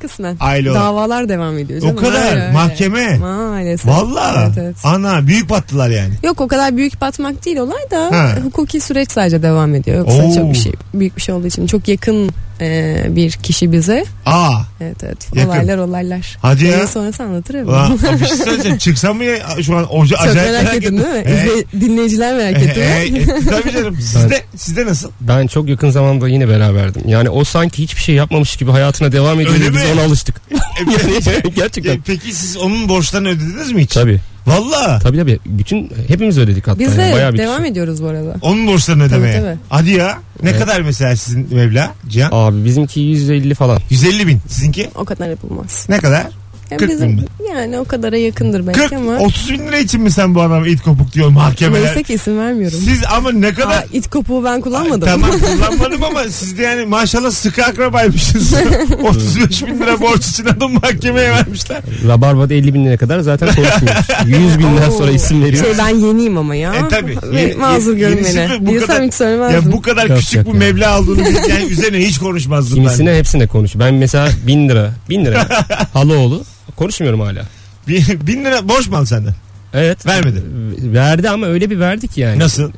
[SPEAKER 4] Kısmen.
[SPEAKER 2] Aile olarak.
[SPEAKER 4] Davalar devam ediyor.
[SPEAKER 2] O
[SPEAKER 4] canım.
[SPEAKER 2] kadar.
[SPEAKER 4] Öyle, öyle.
[SPEAKER 2] Mahkeme.
[SPEAKER 4] Maalesef.
[SPEAKER 2] Valla.
[SPEAKER 4] Evet, evet.
[SPEAKER 2] Ana büyük battılar yani.
[SPEAKER 4] Yok o kadar büyük batmak değil olay da
[SPEAKER 2] Ha.
[SPEAKER 4] hukuki süreç sadece devam ediyor. Yoksa
[SPEAKER 2] Oo.
[SPEAKER 4] çok bir şey büyük bir şey olduğu için çok yakın e, bir kişi bize.
[SPEAKER 2] Aa.
[SPEAKER 4] Evet evet
[SPEAKER 2] Yakın.
[SPEAKER 4] olaylar olaylar.
[SPEAKER 2] Hadi ya.
[SPEAKER 4] Yayın sonrası anlatırım.
[SPEAKER 2] Ulan, bir şey söyleyeceğim. Çıksam mı ya? Şu an oca
[SPEAKER 4] Çok merak ettin değil mi?
[SPEAKER 2] Ee,
[SPEAKER 4] İzle- dinleyiciler merak
[SPEAKER 2] e,
[SPEAKER 4] etti. değil mi?
[SPEAKER 2] e, e, tabii canım. Sizde, sizde nasıl?
[SPEAKER 3] Ben çok yakın zamanda yine beraberdim. Yani o sanki hiçbir şey yapmamış gibi hayatına devam ediyor.
[SPEAKER 2] Öyle
[SPEAKER 3] ve Biz
[SPEAKER 2] mi?
[SPEAKER 3] ona alıştık. Yani
[SPEAKER 2] E,
[SPEAKER 3] gerçekten.
[SPEAKER 2] Peki siz onun borçlarını ödediniz mi hiç?
[SPEAKER 3] Tabii.
[SPEAKER 2] Valla.
[SPEAKER 3] E, Tabii tabii. Bütün hepimiz ödedik hatta.
[SPEAKER 4] Biz
[SPEAKER 3] yani.
[SPEAKER 4] de
[SPEAKER 3] Bayağı bir
[SPEAKER 4] devam
[SPEAKER 3] kişi.
[SPEAKER 4] ediyoruz bu arada.
[SPEAKER 2] Onun borçlarını
[SPEAKER 4] Tabii,
[SPEAKER 2] ödemeye.
[SPEAKER 4] tabii.
[SPEAKER 2] Hadi ya. Ne
[SPEAKER 3] Evet.
[SPEAKER 2] kadar mesela sizin meblağ Cihan?
[SPEAKER 3] Abi bizimki 150 falan.
[SPEAKER 2] 150 bin. Sizinki?
[SPEAKER 4] O kadar yapılmaz.
[SPEAKER 2] Ne kadar?
[SPEAKER 4] Yani
[SPEAKER 2] 40
[SPEAKER 4] bizim-
[SPEAKER 2] bin mi?
[SPEAKER 4] Yani o kadara yakındır belki
[SPEAKER 2] 40,
[SPEAKER 4] ama.
[SPEAKER 2] 30 bin lira için mi sen bu adama it kopuk diyor mahkemeler?
[SPEAKER 4] Neyse ki isim vermiyorum.
[SPEAKER 2] Siz ama ne
[SPEAKER 4] Aa,
[SPEAKER 2] kadar...
[SPEAKER 4] it kopuğu ben kullanmadım.
[SPEAKER 2] Ay, tamam kullanmadım ama siz de yani maşallah sıkı akrabaymışsınız. 35 bin lira borç için adam mahkemeye vermişler.
[SPEAKER 3] Rabarba'da 50 bin liraya kadar zaten konuşmuyoruz. 100 binden
[SPEAKER 4] Oo.
[SPEAKER 3] sonra isim veriyoruz.
[SPEAKER 4] Şey ben yeniyim ama ya.
[SPEAKER 2] E, tabii.
[SPEAKER 4] Beni
[SPEAKER 2] Yeni-
[SPEAKER 4] mazur
[SPEAKER 2] yeni-
[SPEAKER 4] görün
[SPEAKER 2] yenisi
[SPEAKER 4] beni.
[SPEAKER 2] de bu
[SPEAKER 4] Bilsem
[SPEAKER 2] kadar-
[SPEAKER 4] hiç söylemezdim.
[SPEAKER 2] Ya bu kadar
[SPEAKER 3] Yok,
[SPEAKER 2] küçük
[SPEAKER 3] yok,
[SPEAKER 2] bu
[SPEAKER 3] yok.
[SPEAKER 2] meblağ olduğunu bilgen üzerine hiç konuşmazdım ben.
[SPEAKER 3] Kimisine hepsine konuş. Ben mesela 1000 lira. 1000 lira. Haloğlu. Konuşmuyorum hala.
[SPEAKER 2] Bin, bin lira borç mu aldı senden?
[SPEAKER 3] Evet.
[SPEAKER 2] Vermedi.
[SPEAKER 3] Verdi ama öyle bir verdi ki yani.
[SPEAKER 2] Nasıl?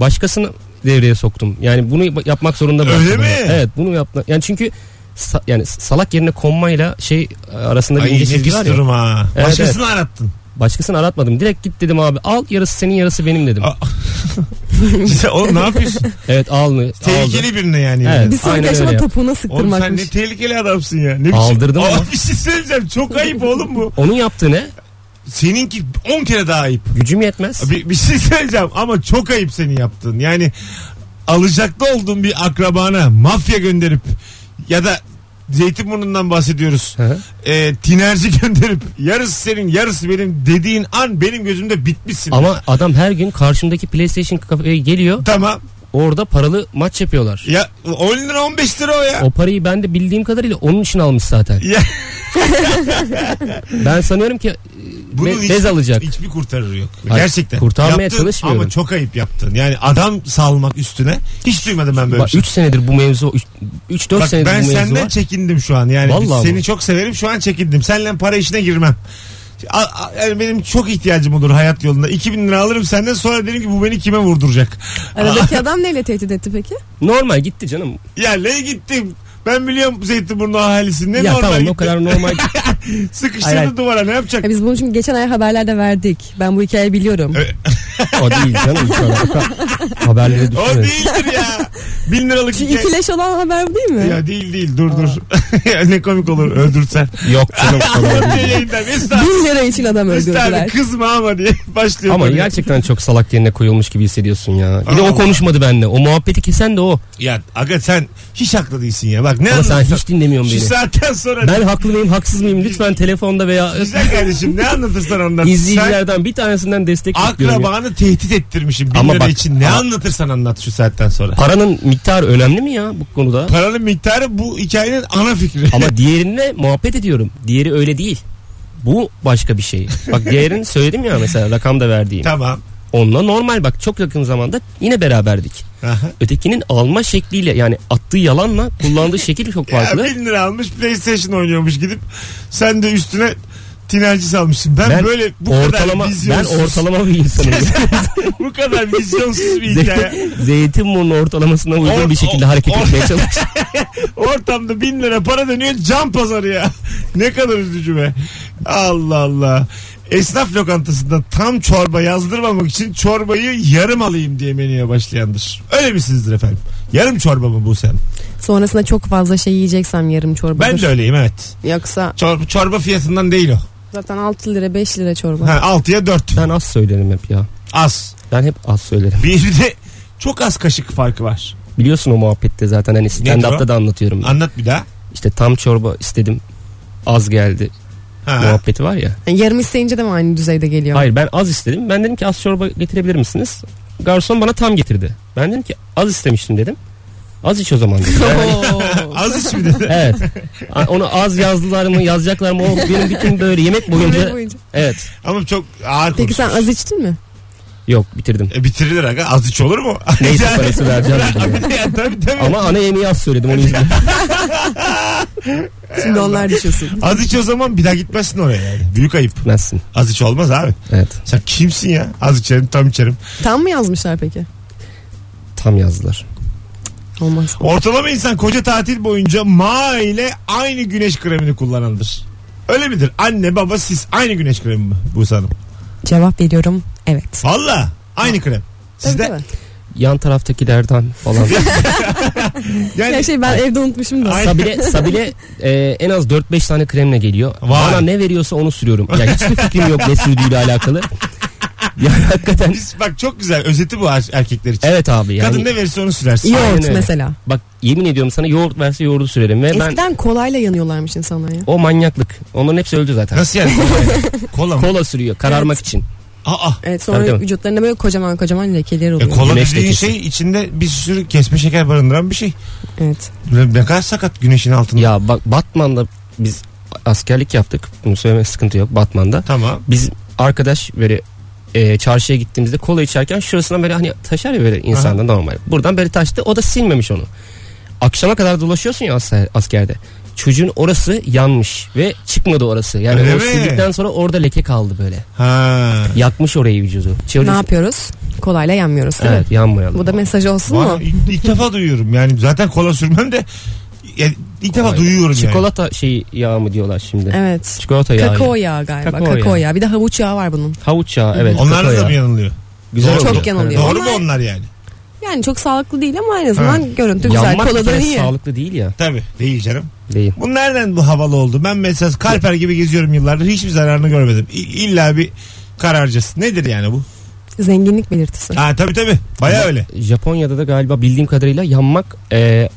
[SPEAKER 3] Başkasını devreye soktum. Yani bunu yap- yapmak zorunda
[SPEAKER 2] Öyle
[SPEAKER 3] bıraktım.
[SPEAKER 2] mi?
[SPEAKER 3] Evet bunu yaptı. Yani çünkü sa- yani salak yerine konmayla şey arasında bir
[SPEAKER 2] Ay
[SPEAKER 3] ince
[SPEAKER 2] ne
[SPEAKER 3] çizgi
[SPEAKER 2] pis
[SPEAKER 3] var ya.
[SPEAKER 2] durum ha.
[SPEAKER 3] Evet,
[SPEAKER 2] Başkasını arattın.
[SPEAKER 3] Başkasını aratmadım. Direkt git dedim abi. Al yarısı senin yarısı benim dedim.
[SPEAKER 2] Aa. Güzel, Oğlum ne yapıyorsun?
[SPEAKER 3] Evet alını aldı.
[SPEAKER 2] Tehlikeli birine yani.
[SPEAKER 3] Evet.
[SPEAKER 4] bir sonraki
[SPEAKER 3] Aynen
[SPEAKER 4] aşama
[SPEAKER 3] öyle.
[SPEAKER 4] topuğuna
[SPEAKER 2] Oğlum sen ne
[SPEAKER 4] sıktırmakmış.
[SPEAKER 2] tehlikeli adamsın ya. Ne biçim-
[SPEAKER 3] Aldırdım
[SPEAKER 2] Aa,
[SPEAKER 3] ama.
[SPEAKER 2] Bir şey söyleyeceğim. Çok ayıp oğlum bu.
[SPEAKER 3] Onun yaptığı ne?
[SPEAKER 2] Seninki 10 kere daha ayıp.
[SPEAKER 3] Gücüm yetmez.
[SPEAKER 2] Bir, bir şey söyleyeceğim ama çok ayıp senin yaptığın. Yani alacaklı olduğun bir akrabana mafya gönderip ya da Zeytinburnu'ndan bahsediyoruz.
[SPEAKER 3] Hı hı.
[SPEAKER 2] E, tinerci gönderip yarısı senin yarısı benim dediğin an benim gözümde bitmişsin.
[SPEAKER 3] Ama adam her gün karşımdaki PlayStation kafeye geliyor.
[SPEAKER 2] Tamam.
[SPEAKER 3] Orada paralı maç yapıyorlar.
[SPEAKER 2] Ya 10 lira 15 lira o ya.
[SPEAKER 3] O parayı ben de bildiğim kadarıyla onun için almış zaten.
[SPEAKER 2] Ya.
[SPEAKER 3] ben sanıyorum ki e,
[SPEAKER 2] Bunun
[SPEAKER 3] be-
[SPEAKER 2] hiç-
[SPEAKER 3] bez alacak.
[SPEAKER 2] Hiçbir kurtarır yok.
[SPEAKER 3] Hayır,
[SPEAKER 2] Gerçekten.
[SPEAKER 3] kurtarmaya
[SPEAKER 2] Yaptın
[SPEAKER 3] çalışmıyorum.
[SPEAKER 2] Ama çok ayıp yaptın. Yani adam salmak üstüne. Hiç duymadım ben böyle bir
[SPEAKER 3] Bak
[SPEAKER 2] şey.
[SPEAKER 3] 3 senedir bu mevzu 3 4
[SPEAKER 2] Bak
[SPEAKER 3] senedir
[SPEAKER 2] ben
[SPEAKER 3] bu mevzu
[SPEAKER 2] senden
[SPEAKER 3] var.
[SPEAKER 2] çekindim şu an. Yani
[SPEAKER 3] Vallahi
[SPEAKER 2] seni
[SPEAKER 3] mi?
[SPEAKER 2] çok severim şu an çekindim. Seninle para işine girmem. A- a- Yani benim çok ihtiyacım olur hayat yolunda. 2000 lira alırım senden sonra derim ki bu beni kime vurduracak? Ah.
[SPEAKER 4] Aradaki adam neyle tehdit etti peki?
[SPEAKER 3] Normal gitti canım.
[SPEAKER 2] Ya ne gittim? Ben biliyorum Zeytinburnu ahalisini. Ne
[SPEAKER 3] ya
[SPEAKER 2] normal
[SPEAKER 3] tamam
[SPEAKER 2] gitti.
[SPEAKER 3] o kadar normal.
[SPEAKER 2] Sıkıştırdı
[SPEAKER 3] Hayır, hayır.
[SPEAKER 2] duvara ne yapacak?
[SPEAKER 4] Ya biz bunu çünkü geçen ay haberlerde verdik. Ben bu hikayeyi biliyorum.
[SPEAKER 3] o değil canım. Şu an Haberleri
[SPEAKER 2] O
[SPEAKER 3] düşünün.
[SPEAKER 2] değildir ya. Bin liralık
[SPEAKER 4] Şu
[SPEAKER 2] hikaye-
[SPEAKER 4] ikileş olan haber bu değil mi?
[SPEAKER 2] Ya değil değil dur dur. Ya ne komik olur öldürsen.
[SPEAKER 3] Yok canım. o kadar
[SPEAKER 2] Diye
[SPEAKER 3] değil.
[SPEAKER 2] Yayından Mesut abi-
[SPEAKER 4] Bin lira için adam
[SPEAKER 2] Mesut abi
[SPEAKER 4] öldürdüler.
[SPEAKER 2] kızma ama diye başlıyor.
[SPEAKER 3] Ama
[SPEAKER 2] böyle.
[SPEAKER 3] gerçekten çok salak yerine koyulmuş gibi hissediyorsun ya. Bir de
[SPEAKER 2] Allah.
[SPEAKER 3] o konuşmadı benimle. O muhabbeti kesen de o.
[SPEAKER 2] Ya aga sen Hiç haklı değilsin ya. Bak ne
[SPEAKER 3] Ama sen
[SPEAKER 2] anladın?
[SPEAKER 3] hiç dinlemiyorsun
[SPEAKER 2] Şu
[SPEAKER 3] beni.
[SPEAKER 2] saatten sonra
[SPEAKER 3] Ben haklı mıyım haksız mıyım lütfen telefonda veya
[SPEAKER 2] güzel kardeşim ne anlatırsan ondan. Sen
[SPEAKER 3] izleyicilerden bir tanesinden destek bekliyorum. ya.
[SPEAKER 2] akrabanı tehdit ettirmişim. Bin
[SPEAKER 3] Ama
[SPEAKER 2] lira
[SPEAKER 3] bak-
[SPEAKER 2] için ne
[SPEAKER 3] ama-
[SPEAKER 2] anlatırsan anlat şu saatten sonra.
[SPEAKER 3] Paranın miktarı önemli mi ya bu konuda?
[SPEAKER 2] Paranın miktarı bu hikayenin ana fikri.
[SPEAKER 3] Ama diğerine muhabbet ediyorum. Diğeri öyle değil. Bu başka bir şey. Bak diğerini söyledim ya mesela rakam da verdiğim.
[SPEAKER 2] tamam.
[SPEAKER 3] Onunla normal bak çok yakın zamanda yine beraberdik.
[SPEAKER 2] Aha.
[SPEAKER 3] Ötekinin alma şekliyle yani attığı yalanla kullandığı şekil çok
[SPEAKER 2] Ya
[SPEAKER 3] farklı.
[SPEAKER 2] bin lira almış PlayStation oynuyormuş gidip sen de üstüne tinerci salmışsın. Ben,
[SPEAKER 3] Ben
[SPEAKER 2] böyle bu
[SPEAKER 3] ortalama
[SPEAKER 2] kadar
[SPEAKER 3] ben
[SPEAKER 2] vizyonsuz,
[SPEAKER 3] ortalama bir insanım.
[SPEAKER 2] bu kadar vizyonsuz bir hikaye.
[SPEAKER 3] Zeytin, Zeytinburnu ortalamasına uygun
[SPEAKER 2] Or-
[SPEAKER 3] bir şekilde hareket
[SPEAKER 2] or-
[SPEAKER 3] etmeye çalışıyorum.
[SPEAKER 2] Ortamda bin lira para dönüyor can pazarı ya. ne kadar üzücü be. Allah Allah. Esnaf lokantasında tam çorba yazdırmamak için çorbayı yarım alayım diye menüye başlayandır. Öyle misinizdir efendim? Yarım çorba mı bu sen?
[SPEAKER 4] Sonrasında çok fazla şey yiyeceksem yarım çorba.
[SPEAKER 2] Ben de öyleyim evet.
[SPEAKER 4] Yoksa
[SPEAKER 2] Çorba, çorba fiyatından değil o.
[SPEAKER 4] zaten 6 lira 5 lira çorba.
[SPEAKER 2] Ha, 6'ya 4.
[SPEAKER 3] Ben az söylerim hep ya.
[SPEAKER 2] Az.
[SPEAKER 3] Ben hep az söylerim.
[SPEAKER 2] Bir de çok az kaşık farkı var.
[SPEAKER 3] Biliyorsun o muhabbette zaten hani
[SPEAKER 2] Nedir o?
[SPEAKER 3] stand-up'ta da anlatıyorum. ben.
[SPEAKER 2] Anlat bir daha.
[SPEAKER 3] İşte tam çorba istedim. Az geldi.
[SPEAKER 2] Ha.
[SPEAKER 3] Muhabbeti var ya.
[SPEAKER 4] Yani yarım isteyince de mi aynı düzeyde geliyor?
[SPEAKER 3] Hayır ben az istedim. Ben dedim ki az çorba getirebilir misiniz? Garson bana tam getirdi. Ben dedim ki az istemiştim dedim. Az iç o zaman dedi. Yani-
[SPEAKER 4] Oo.
[SPEAKER 2] Az iç mi dedi?
[SPEAKER 3] evet. A- Onu az yazdılar mı yazacaklar mı? O benim bütün böyle yemek
[SPEAKER 4] Ömrü
[SPEAKER 3] boyunca.
[SPEAKER 4] boyunca.
[SPEAKER 3] Evet.
[SPEAKER 2] Ama çok ağır
[SPEAKER 4] Peki
[SPEAKER 2] konuşmuş.
[SPEAKER 4] sen az içtin mi?
[SPEAKER 3] Yok bitirdim.
[SPEAKER 2] E, bitirilir aga. Az iç olur mu?
[SPEAKER 3] Neyse parası vereceğim dedim.
[SPEAKER 2] Abi, ya, tabii tabii.
[SPEAKER 3] Ama ana yemeği az söyledim onu izledim.
[SPEAKER 4] Şimdi onlar düşüyorsun.
[SPEAKER 2] Az iç o zaman bir daha gitmezsin oraya yani. Büyük ayıp.
[SPEAKER 3] Gitmezsin.
[SPEAKER 2] Az iç olmaz abi.
[SPEAKER 3] Evet.
[SPEAKER 2] Sen kimsin ya? Az içerim tam içerim.
[SPEAKER 4] Tam mı yazmışlar peki?
[SPEAKER 3] Tam yazdılar.
[SPEAKER 4] Olmaz.
[SPEAKER 2] Ortalama insan koca tatil boyunca ma ile aynı güneş kremini kullanandır. Öyle midir? Anne baba siz aynı güneş kremi mi bu sanım?
[SPEAKER 4] Cevap veriyorum evet.
[SPEAKER 2] Valla aynı krem.
[SPEAKER 4] Tabii
[SPEAKER 2] Sizde
[SPEAKER 4] tabii.
[SPEAKER 3] Yan taraftakilerden falan.
[SPEAKER 2] yani
[SPEAKER 4] Ya şey ben evde unutmuşum da.
[SPEAKER 2] Ay-
[SPEAKER 3] Sabile, Sabile e, en az 4-5 tane kremle geliyor.
[SPEAKER 2] Vay.
[SPEAKER 3] Bana ne veriyorsa onu sürüyorum. Ya hiçbir fikrim yok ne sürdüğüyle alakalı. Ya hakikaten.
[SPEAKER 2] biz, bak çok güzel özeti bu er- erkekler için.
[SPEAKER 3] Evet abi yani.
[SPEAKER 2] Kadın ne verirse onu sürersin.
[SPEAKER 3] Aynen
[SPEAKER 4] Yoğurt
[SPEAKER 3] öyle.
[SPEAKER 4] mesela.
[SPEAKER 3] Bak yemin ediyorum sana yoğurt verse yoğurdu sürerim. Ve E ben
[SPEAKER 4] Eskiden kolayla yanıyorlarmış insanlar ya.
[SPEAKER 3] o manyaklık. Onların hepsi öldü zaten.
[SPEAKER 2] Nasıl yani? kola mı?
[SPEAKER 3] Kola sürüyor kararmak için.
[SPEAKER 2] Aa.
[SPEAKER 4] Evet sonra
[SPEAKER 3] Tabii, tabii.
[SPEAKER 4] vücutlarında böyle kocaman kocaman lekeler
[SPEAKER 2] E,
[SPEAKER 4] oluyor.
[SPEAKER 2] kola
[SPEAKER 3] Güneş
[SPEAKER 2] dediğin
[SPEAKER 3] lekesi.
[SPEAKER 2] şey içinde bir sürü kesme şeker barındıran bir şey.
[SPEAKER 4] evet.
[SPEAKER 2] Ne ne kadar sakat güneşin altında.
[SPEAKER 3] Ya bak Batman'da biz askerlik yaptık. Bunu söyleme sıkıntı yok Batman'da.
[SPEAKER 2] Tamam.
[SPEAKER 3] Biz arkadaş böyle e, çarşıya gittiğimizde kola içerken şurasından böyle hani taşar ya böyle insanda normal. Buradan böyle taştı o da silmemiş onu. Akşama kadar dolaşıyorsun ya as- askerde. Çocuğun orası yanmış ve çıkmadı orası. Yani
[SPEAKER 2] Öyle
[SPEAKER 3] o
[SPEAKER 2] mi?
[SPEAKER 3] sildikten sonra orada leke kaldı böyle.
[SPEAKER 2] Ha.
[SPEAKER 3] Yakmış orayı vücudu.
[SPEAKER 4] Ne
[SPEAKER 3] Çocuk-
[SPEAKER 4] yapıyoruz? Kolayla yanmıyoruz değil mi?
[SPEAKER 3] Evet yanmayalım.
[SPEAKER 4] Bu da mesaj olsun
[SPEAKER 2] Valla
[SPEAKER 4] mu?
[SPEAKER 2] ilk, ilk defa duyuyorum yani zaten kola sürmem de yani ilk defa duyuyorum yani.
[SPEAKER 3] Çikolata şeyi yağı mı diyorlar şimdi.
[SPEAKER 4] Evet.
[SPEAKER 3] Çikolata yağı.
[SPEAKER 4] Kakao yağı galiba. Kakao,
[SPEAKER 3] Kakao
[SPEAKER 4] yağı. Bir de havuç yağı var bunun.
[SPEAKER 3] Havuç yağı evet.
[SPEAKER 2] Onlar
[SPEAKER 3] kakao
[SPEAKER 2] da
[SPEAKER 3] yağı.
[SPEAKER 2] mı yanılıyor?
[SPEAKER 3] Güzel
[SPEAKER 2] Doğru
[SPEAKER 3] oluyor.
[SPEAKER 2] mu?
[SPEAKER 4] Çok yanılıyor.
[SPEAKER 2] Doğru mu
[SPEAKER 4] E, Onlar-
[SPEAKER 2] onlar yani?
[SPEAKER 4] Yani çok sağlıklı değil ama en azından görüntü güzel.
[SPEAKER 3] Yanmak bir
[SPEAKER 4] Kola da
[SPEAKER 3] kere
[SPEAKER 4] iyi.
[SPEAKER 3] sağlıklı değil ya.
[SPEAKER 2] Tabii değil canım.
[SPEAKER 3] Değil.
[SPEAKER 2] Bu nereden bu havalı oldu? Ben mesela kalper gibi geziyorum yıllardır hiçbir zararını görmedim. İ- İlla bir kararcısı. Nedir yani bu?
[SPEAKER 4] Zenginlik belirtisi.
[SPEAKER 2] Ha tabii tabii. Baya öyle.
[SPEAKER 3] Japonya'da da galiba bildiğim kadarıyla yanmak e,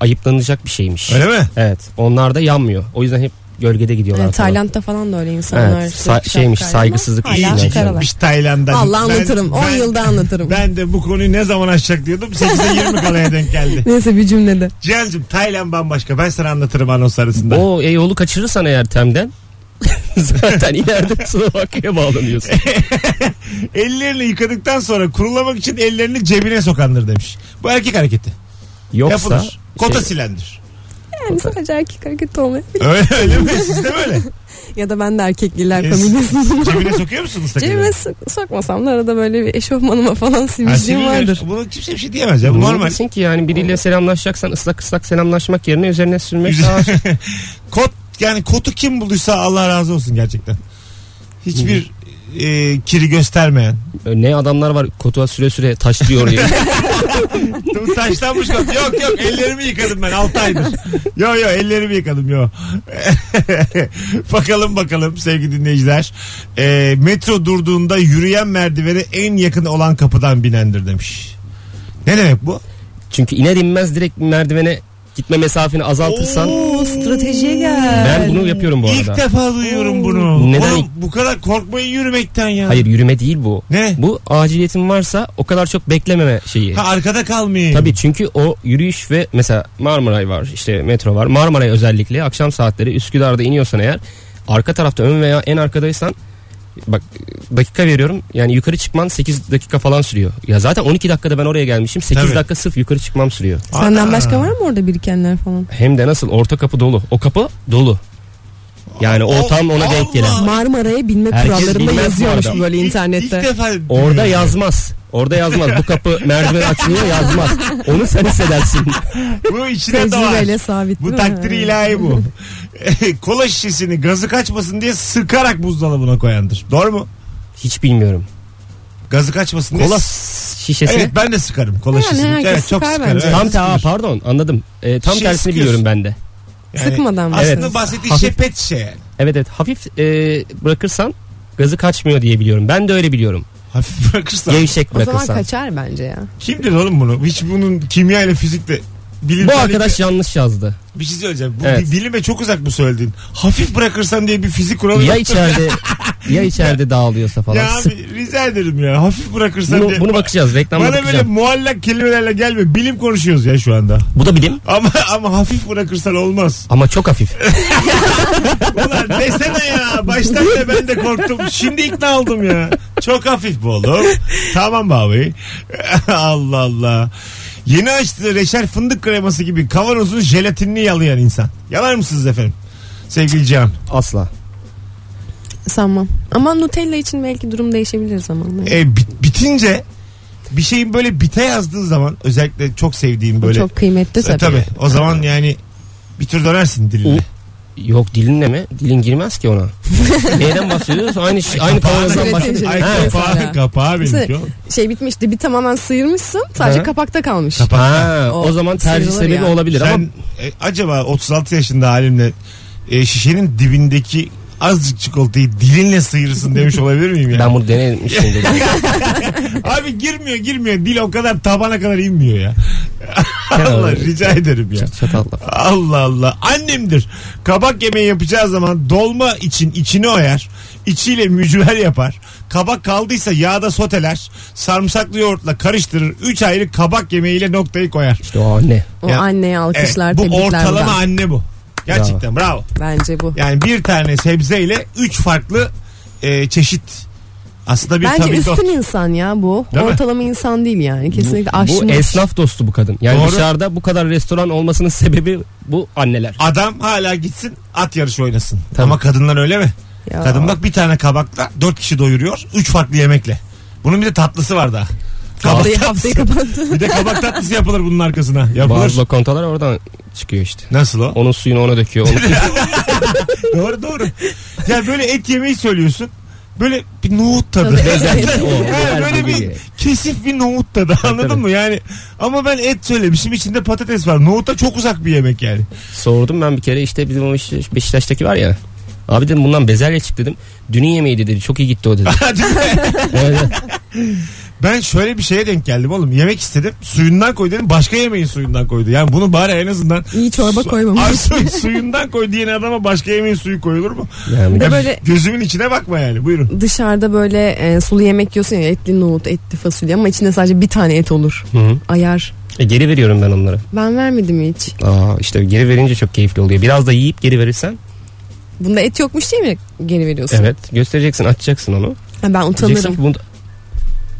[SPEAKER 3] ayıplanacak bir şeymiş.
[SPEAKER 2] Öyle mi?
[SPEAKER 3] Evet. Onlar da yanmıyor. O yüzden hep gölgede gidiyorlar.
[SPEAKER 4] Yani
[SPEAKER 3] falan.
[SPEAKER 4] Tayland'da falan da öyle insanlar.
[SPEAKER 3] Evet. sa-
[SPEAKER 4] sürekli
[SPEAKER 3] şeymiş
[SPEAKER 4] şapkayla
[SPEAKER 3] saygısızlık
[SPEAKER 4] ama
[SPEAKER 3] işi
[SPEAKER 4] Hala
[SPEAKER 3] yani.
[SPEAKER 4] çıkaralım.
[SPEAKER 2] Biz Tayland'dan.
[SPEAKER 4] Allah
[SPEAKER 2] Ben-
[SPEAKER 4] anlatırım. 10
[SPEAKER 2] ben-
[SPEAKER 4] yılda anlatırım.
[SPEAKER 2] Ben de bu konuyu ne zaman açacak diyordum. 8'e 20 kalaya denk geldi.
[SPEAKER 4] Neyse bir cümlede.
[SPEAKER 2] Cihan'cığım Tayland bambaşka. Ben sana anlatırım anons arasında.
[SPEAKER 3] O e, yolu kaçırırsan eğer temden zaten ileride Slovakya'ya bağlanıyorsun.
[SPEAKER 2] Ellerini yıkadıktan sonra kurulamak için ellerini cebine sokandır demiş. Bu erkek hareketi.
[SPEAKER 3] Yoksa
[SPEAKER 2] Yapılır. Kota
[SPEAKER 3] şey-
[SPEAKER 2] silendir.
[SPEAKER 4] Yani sadece erkek hareketi olmayabilir.
[SPEAKER 2] Öyle öyle mi? Siz de böyle.
[SPEAKER 4] Ya da ben de erkekliler
[SPEAKER 2] Yes.
[SPEAKER 4] familyasını.
[SPEAKER 2] Cebine sokuyor musunuz takımı?
[SPEAKER 4] Cebime sok- sokmasam da arada böyle bir eşofmanıma falan sivilciğim vardır.
[SPEAKER 2] Bunu kimse bir şey diyemez ya. Bu Normal.
[SPEAKER 3] Normal. ki yani biriyle selamlaşacaksan ıslak ıslak selamlaşmak yerine üzerine sürmek daha
[SPEAKER 2] Kot yani kotu kim bulduysa Allah razı olsun gerçekten. Hiçbir e, kiri göstermeyen.
[SPEAKER 3] ne adamlar var kotuğa süre süre taşlıyor orayı.
[SPEAKER 2] Bu Taşlanmış kot. Yok yok ellerimi yıkadım ben 6 aydır. Yok yok ellerimi yıkadım yok. bakalım bakalım sevgili dinleyiciler. E, metro durduğunda yürüyen merdivene en yakın olan kapıdan binendir demiş. Ne demek bu?
[SPEAKER 3] Çünkü iner inmez direkt merdivene gitme mesafeni azaltırsan.
[SPEAKER 4] Oo, stratejiye gel.
[SPEAKER 3] Ben bunu yapıyorum bu
[SPEAKER 2] İlk
[SPEAKER 3] arada.
[SPEAKER 2] defa duyuyorum bunu.
[SPEAKER 3] Neden?
[SPEAKER 2] Oğlum bu kadar korkmayın yürümekten ya.
[SPEAKER 3] Hayır yürüme değil bu.
[SPEAKER 2] Ne?
[SPEAKER 3] Bu aciliyetin varsa o kadar çok beklememe şeyi.
[SPEAKER 2] Ha, arkada kalmayın.
[SPEAKER 3] Tabii çünkü o yürüyüş ve mesela Marmaray var işte metro var. Marmaray özellikle akşam saatleri Üsküdar'da iniyorsan eğer arka tarafta ön veya en arkadaysan bak dakika veriyorum yani yukarı çıkman 8 dakika falan sürüyor. Ya zaten 12 dakikada ben oraya gelmişim 8
[SPEAKER 2] Tabii.
[SPEAKER 3] dakika sırf yukarı çıkmam sürüyor.
[SPEAKER 4] Senden
[SPEAKER 2] Ana.
[SPEAKER 4] başka var mı orada birikenler falan?
[SPEAKER 3] Hem de nasıl orta kapı dolu o kapı dolu. Yani o,
[SPEAKER 2] O-
[SPEAKER 3] tam ona denk gelen.
[SPEAKER 2] Allah.
[SPEAKER 4] Marmara'ya binme
[SPEAKER 3] Herkes
[SPEAKER 4] kurallarında
[SPEAKER 3] bilmez bu
[SPEAKER 4] yazıyormuş
[SPEAKER 3] arada.
[SPEAKER 4] böyle
[SPEAKER 2] İlk-
[SPEAKER 4] internette.
[SPEAKER 2] İlk, defa
[SPEAKER 3] Orada yazmaz. Orada yazmaz. Bu kapı merdiven açılıyor yazmaz. Onu sen hissedersin.
[SPEAKER 2] bu içine doğar.
[SPEAKER 4] Tecrübeyle sabit
[SPEAKER 2] Bu
[SPEAKER 4] değil mi?
[SPEAKER 2] takdir ilahi bu. Kola şişesini gazı kaçmasın diye sıkarak buzdolabına koyandır. Doğru mu?
[SPEAKER 3] Hiç bilmiyorum.
[SPEAKER 2] Gazı kaçmasın diye.
[SPEAKER 3] Kola
[SPEAKER 2] s-
[SPEAKER 3] şişesi.
[SPEAKER 2] Evet ben de sıkarım kola
[SPEAKER 4] Yani
[SPEAKER 2] şişesini.
[SPEAKER 4] herkes
[SPEAKER 2] Evet çok
[SPEAKER 4] sıkar
[SPEAKER 2] sıkarım.
[SPEAKER 4] bence.
[SPEAKER 2] Evet,
[SPEAKER 3] Tam ta
[SPEAKER 2] sıkılır.
[SPEAKER 3] pardon anladım. Ee, tam
[SPEAKER 2] Şey
[SPEAKER 3] tersini
[SPEAKER 2] sıkıyorsun.
[SPEAKER 3] biliyorum ben de.
[SPEAKER 4] Sıkmadan mı?
[SPEAKER 2] Aslında
[SPEAKER 3] Evet.
[SPEAKER 2] bahsettiği
[SPEAKER 3] Hafif-
[SPEAKER 2] şey pet şişe yani.
[SPEAKER 3] Evet evet hafif e, bırakırsan gazı kaçmıyor diye biliyorum. Ben de öyle biliyorum.
[SPEAKER 2] Hafif bırakırsan.
[SPEAKER 3] Gevşek
[SPEAKER 4] O zaman
[SPEAKER 3] bırakırsan.
[SPEAKER 4] kaçar bence ya.
[SPEAKER 2] Kimdir oğlum bunu? Hiç bunun kimya ile fizikle bilim
[SPEAKER 3] Bu arkadaş yanlış yazdı.
[SPEAKER 2] bir şey söyleyeceğim. Bu
[SPEAKER 3] Evet.
[SPEAKER 2] bi- bilime çok uzak bu söylediğin. Hafif bırakırsan diye bir fizik kuralı
[SPEAKER 3] Ya
[SPEAKER 2] yok.
[SPEAKER 3] içeride ya içeride dağılıyorsa falan.
[SPEAKER 2] Ya
[SPEAKER 3] Sık-
[SPEAKER 2] abi rica ederim ya. Hafif bırakırsan
[SPEAKER 3] bunu,
[SPEAKER 2] diye.
[SPEAKER 3] bunu bakacağız reklamda
[SPEAKER 2] Bana böyle
[SPEAKER 3] bakacağım.
[SPEAKER 2] muallak kelimelerle gelme. Bilim konuşuyoruz ya şu anda.
[SPEAKER 3] Bu da bilim
[SPEAKER 2] Ama ama hafif bırakırsan olmaz.
[SPEAKER 3] ama çok hafif.
[SPEAKER 2] Ulan desene ya. Baştan da ben de korktum. Şimdi ikna oldum ya. Çok hafif bu oğlum. Tamam be abi. Allah Allah. Yeni açtığı reçel fındık kreması gibi kavanozun jelatinini yalayan insan. Yalar mısınız efendim? Sevgili Can.
[SPEAKER 3] Asla.
[SPEAKER 4] Sanmam. Ama Nutella için belki durum değişebilir zamanla.
[SPEAKER 2] E, bit- bitince bir şeyin böyle bite yazdığı zaman özellikle çok sevdiğim
[SPEAKER 4] Bu
[SPEAKER 2] böyle.
[SPEAKER 4] çok kıymetli tabii.
[SPEAKER 2] E, tabii. O zaman yani bir tür dönersin diline.
[SPEAKER 3] U- Yok dilinle mi? Dilin girmez ki ona. Neyden bahsediyoruz? Aynı şey- aynı kavanozdan
[SPEAKER 4] Evet,
[SPEAKER 3] bahsediyoruz.
[SPEAKER 2] Ay
[SPEAKER 4] Ha.
[SPEAKER 2] kapağı,
[SPEAKER 4] Mesela.
[SPEAKER 2] kapağı benimki
[SPEAKER 4] Mesela-
[SPEAKER 2] oğlum.
[SPEAKER 4] Şey bitmişti bir tamamen sıyırmışsın sadece
[SPEAKER 3] Hı.
[SPEAKER 4] kapakta kalmış.
[SPEAKER 2] Kapak.
[SPEAKER 3] Ha, o,
[SPEAKER 4] O
[SPEAKER 3] zaman tercih
[SPEAKER 4] sıyrılır
[SPEAKER 3] sebebi
[SPEAKER 4] ya.
[SPEAKER 3] olabilir
[SPEAKER 2] Sen
[SPEAKER 3] ama
[SPEAKER 2] e, acaba 36 yaşında halimle e, şişenin dibindeki azıcık çikolatayı dilinle sıyırırsın demiş olabilir miyim ya?
[SPEAKER 3] ben bunu denemiştim dedim.
[SPEAKER 2] Abi girmiyor girmiyor. Dil o kadar tabana kadar inmiyor ya. Allah
[SPEAKER 3] Kenara-
[SPEAKER 2] rica ederim ya.
[SPEAKER 3] Çatalla.
[SPEAKER 2] Allah Allah. Annemdir. Kabak yemeği yapacağı zaman dolma için içini oyar. İçiyle mücver yapar. Kabak kaldıysa yağda soteler. Sarımsaklı yoğurtla karıştırır. Üç ayrı kabak yemeğiyle noktayı koyar.
[SPEAKER 3] İşte o anne.
[SPEAKER 4] O
[SPEAKER 2] Ya-
[SPEAKER 4] anneye
[SPEAKER 2] Evet,
[SPEAKER 4] alkışlar
[SPEAKER 2] bu
[SPEAKER 4] tebrikler
[SPEAKER 2] ortalama
[SPEAKER 4] buradan.
[SPEAKER 2] anne bu. Gerçekten bravo.
[SPEAKER 4] Bence bu.
[SPEAKER 2] Yani bir tane sebzeyle üç farklı e, çeşit. Aslında bir
[SPEAKER 4] Bence
[SPEAKER 2] tabidot.
[SPEAKER 4] üstün insan ya bu.
[SPEAKER 2] Değil mi?
[SPEAKER 4] Ortalama insan değil yani. Kesinlikle
[SPEAKER 3] Bu
[SPEAKER 4] aşmış.
[SPEAKER 3] esnaf dostu bu kadın. Yani
[SPEAKER 2] Doğru.
[SPEAKER 3] dışarıda bu kadar restoran olmasının sebebi bu anneler.
[SPEAKER 2] Adam hala gitsin at yarışı oynasın.
[SPEAKER 3] Tabii.
[SPEAKER 2] Ama kadınlar öyle mi?
[SPEAKER 4] Ya.
[SPEAKER 2] Kadın bak bir tane kabakla dört kişi doyuruyor. Üç farklı yemekle. Bunun bir de tatlısı var daha. Kabak
[SPEAKER 4] Haftayı,
[SPEAKER 2] tatlısı.
[SPEAKER 4] haftayı kapattı.
[SPEAKER 2] bir de kabak tatlısı yapılır bunun arkasına. Yapılır.
[SPEAKER 3] Bazı lokantalar oradan çıkıyor işte.
[SPEAKER 2] Nasıl o?
[SPEAKER 3] Onun suyunu ona döküyor. Onun...
[SPEAKER 2] doğru doğru. Ya böyle et yemeği söylüyorsun. Böyle bir nohut tadı.
[SPEAKER 4] Tabii.
[SPEAKER 3] Lezzet o.
[SPEAKER 2] Ha, böyle bir şey.
[SPEAKER 3] Lezzet.
[SPEAKER 2] kesif bir nohut tadı anladın
[SPEAKER 3] Tabii.
[SPEAKER 2] mı? Yani ama ben et söylemişim içinde patates var. Nohut da çok uzak bir yemek yani.
[SPEAKER 3] Sordum ben bir kere işte bizim o işte Beşiktaş'taki var ya. Abi dedim bundan bezelye çıktı dedim. Dünün yemeği dedi. Çok iyi gitti o dedi.
[SPEAKER 2] Hadi be.
[SPEAKER 3] Evet.
[SPEAKER 2] Ben şöyle bir şeye denk geldim oğlum. Yemek istedim. Suyundan koy dedim. Başka yemeğin suyundan koydu. Yani bunu bari en azından
[SPEAKER 4] İyi çorba koymamış.
[SPEAKER 2] Ay, su- suyundan koy diyen adama başka yemeğin suyu koyulur mu?
[SPEAKER 3] Yani
[SPEAKER 4] Bir
[SPEAKER 2] Ya
[SPEAKER 4] de böyle
[SPEAKER 2] Gözümün içine bakma yani. Buyurun.
[SPEAKER 4] dışarıda böyle e, sulu yemek yiyorsun ya etli nohut, etli fasulye ama içinde sadece bir tane et olur.
[SPEAKER 3] Hı.
[SPEAKER 4] Ayar.
[SPEAKER 3] E, geri veriyorum ben onlara.
[SPEAKER 4] Ben vermedim hiç.
[SPEAKER 3] Aa, işte geri verince çok keyifli oluyor. Biraz da yiyip geri verirsen.
[SPEAKER 4] Bunda et yokmuş değil mi geri veriyorsun?
[SPEAKER 3] Evet. Göstereceksin açacaksın onu.
[SPEAKER 4] Ha, ben
[SPEAKER 3] Diyeceksin
[SPEAKER 4] utanırım.
[SPEAKER 3] ki bunu-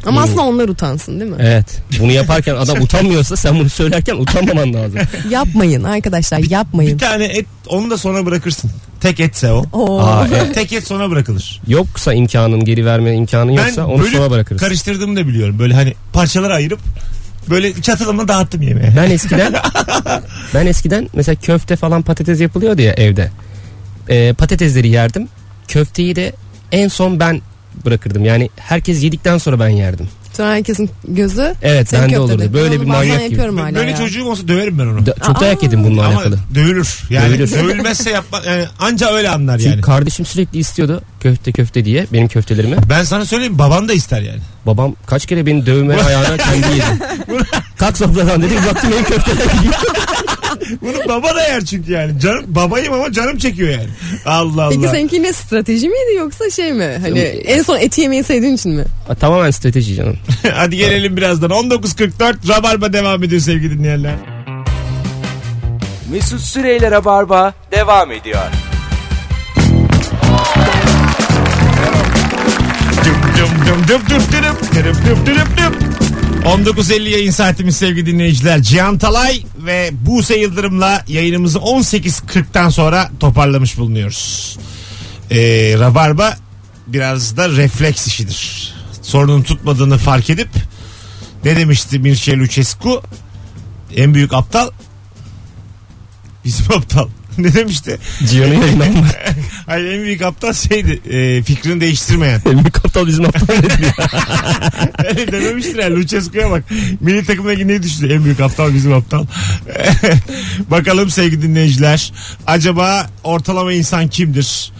[SPEAKER 4] Ama
[SPEAKER 3] Hmm.
[SPEAKER 4] aslında onlar utansın değil mi?
[SPEAKER 3] Evet. Bunu yaparken adam utanmıyorsa sen bunu söylerken utanmaman lazım.
[SPEAKER 4] Yapmayın arkadaşlar
[SPEAKER 2] Bir
[SPEAKER 4] yapmayın.
[SPEAKER 2] tane et onu da sona bırakırsın. Tek etse o.
[SPEAKER 4] Oo.
[SPEAKER 3] Aa, evet.
[SPEAKER 2] Tek et sona bırakılır.
[SPEAKER 3] Yoksa imkanın geri verme imkanın yoksa onu
[SPEAKER 2] bölüp
[SPEAKER 3] sona bırakırız.
[SPEAKER 2] karıştırdığımı da biliyorum. Böyle hani parçalara ayırıp böyle çatalımla dağıttım yemeğe.
[SPEAKER 3] ben eskiden ben eskiden mesela köfte falan patates yapılıyordu ya evde. Ee, patatesleri yerdim. Köfteyi de en son ben bırakırdım. Yani herkes yedikten sonra ben yerdim.
[SPEAKER 4] Sonra herkesin gözü
[SPEAKER 3] Evet
[SPEAKER 4] Senin
[SPEAKER 3] bende
[SPEAKER 4] köftede.
[SPEAKER 3] olurdu. Böyle
[SPEAKER 4] Ben
[SPEAKER 3] bir
[SPEAKER 4] onu bazen
[SPEAKER 3] manyak gibi.
[SPEAKER 4] yapıyorum hala
[SPEAKER 2] böyle
[SPEAKER 4] ya.
[SPEAKER 2] çocuğum olsa döverim ben onu.
[SPEAKER 3] Da- çok dayak yedim bununla
[SPEAKER 2] Ama
[SPEAKER 3] alakalı.
[SPEAKER 2] dövülür. Yani
[SPEAKER 3] Dövülür.
[SPEAKER 2] dövülmezse yapma. Yani anca öyle anlar
[SPEAKER 3] Çünkü
[SPEAKER 2] yani.
[SPEAKER 3] kardeşim sürekli istiyordu köfte köfte diye benim köftelerimi.
[SPEAKER 2] Ben sana söyleyeyim baban da ister yani.
[SPEAKER 3] Babam kaç kere beni dövme ayağına kendi yedi. Kalk sofradan dedi baktım benim köfteler gidiyor.
[SPEAKER 2] Bunu baba da yer çünkü yani. Canım, babayım ama canım çekiyor yani. Allah Allah.
[SPEAKER 4] Peki seninki ne strateji miydi yoksa şey mi? Hani en son eti yemeyi sevdiğin için mi?
[SPEAKER 3] Ha, Tamamen strateji canım.
[SPEAKER 2] Hadi gelelim birazdan. 19.44 Rabarba devam ediyor sevgili dinleyenler.
[SPEAKER 1] Mesut Süreyler'e barba devam ediyor.
[SPEAKER 2] Düm düm düm düm düm düm düm düm düm düm. 19.50 yayın saatimiz sevgili dinleyiciler. Cihan Talay ve Buse Yıldırım'la yayınımızı 18.40'tan sonra toparlamış bulunuyoruz. Ee, Rabarba biraz da refleks işidir. Sorunun tutmadığını fark edip ne demişti Mircea Lucescu? En büyük aptal bizim aptal. ne demişti?
[SPEAKER 3] Cihan'ı yayınlanma.
[SPEAKER 2] Hayır en büyük aptal şeydi e, fikrini değiştirmeyen.
[SPEAKER 3] Büyük aptal bizim aptal dedi ya.
[SPEAKER 2] Öyle dememiştir yani Lucescu'ya bak. Milli takımdaki ne düşünüyor? En büyük aptal bizim aptal. Bakalım sevgili dinleyiciler. Acaba ortalama insan kimdir?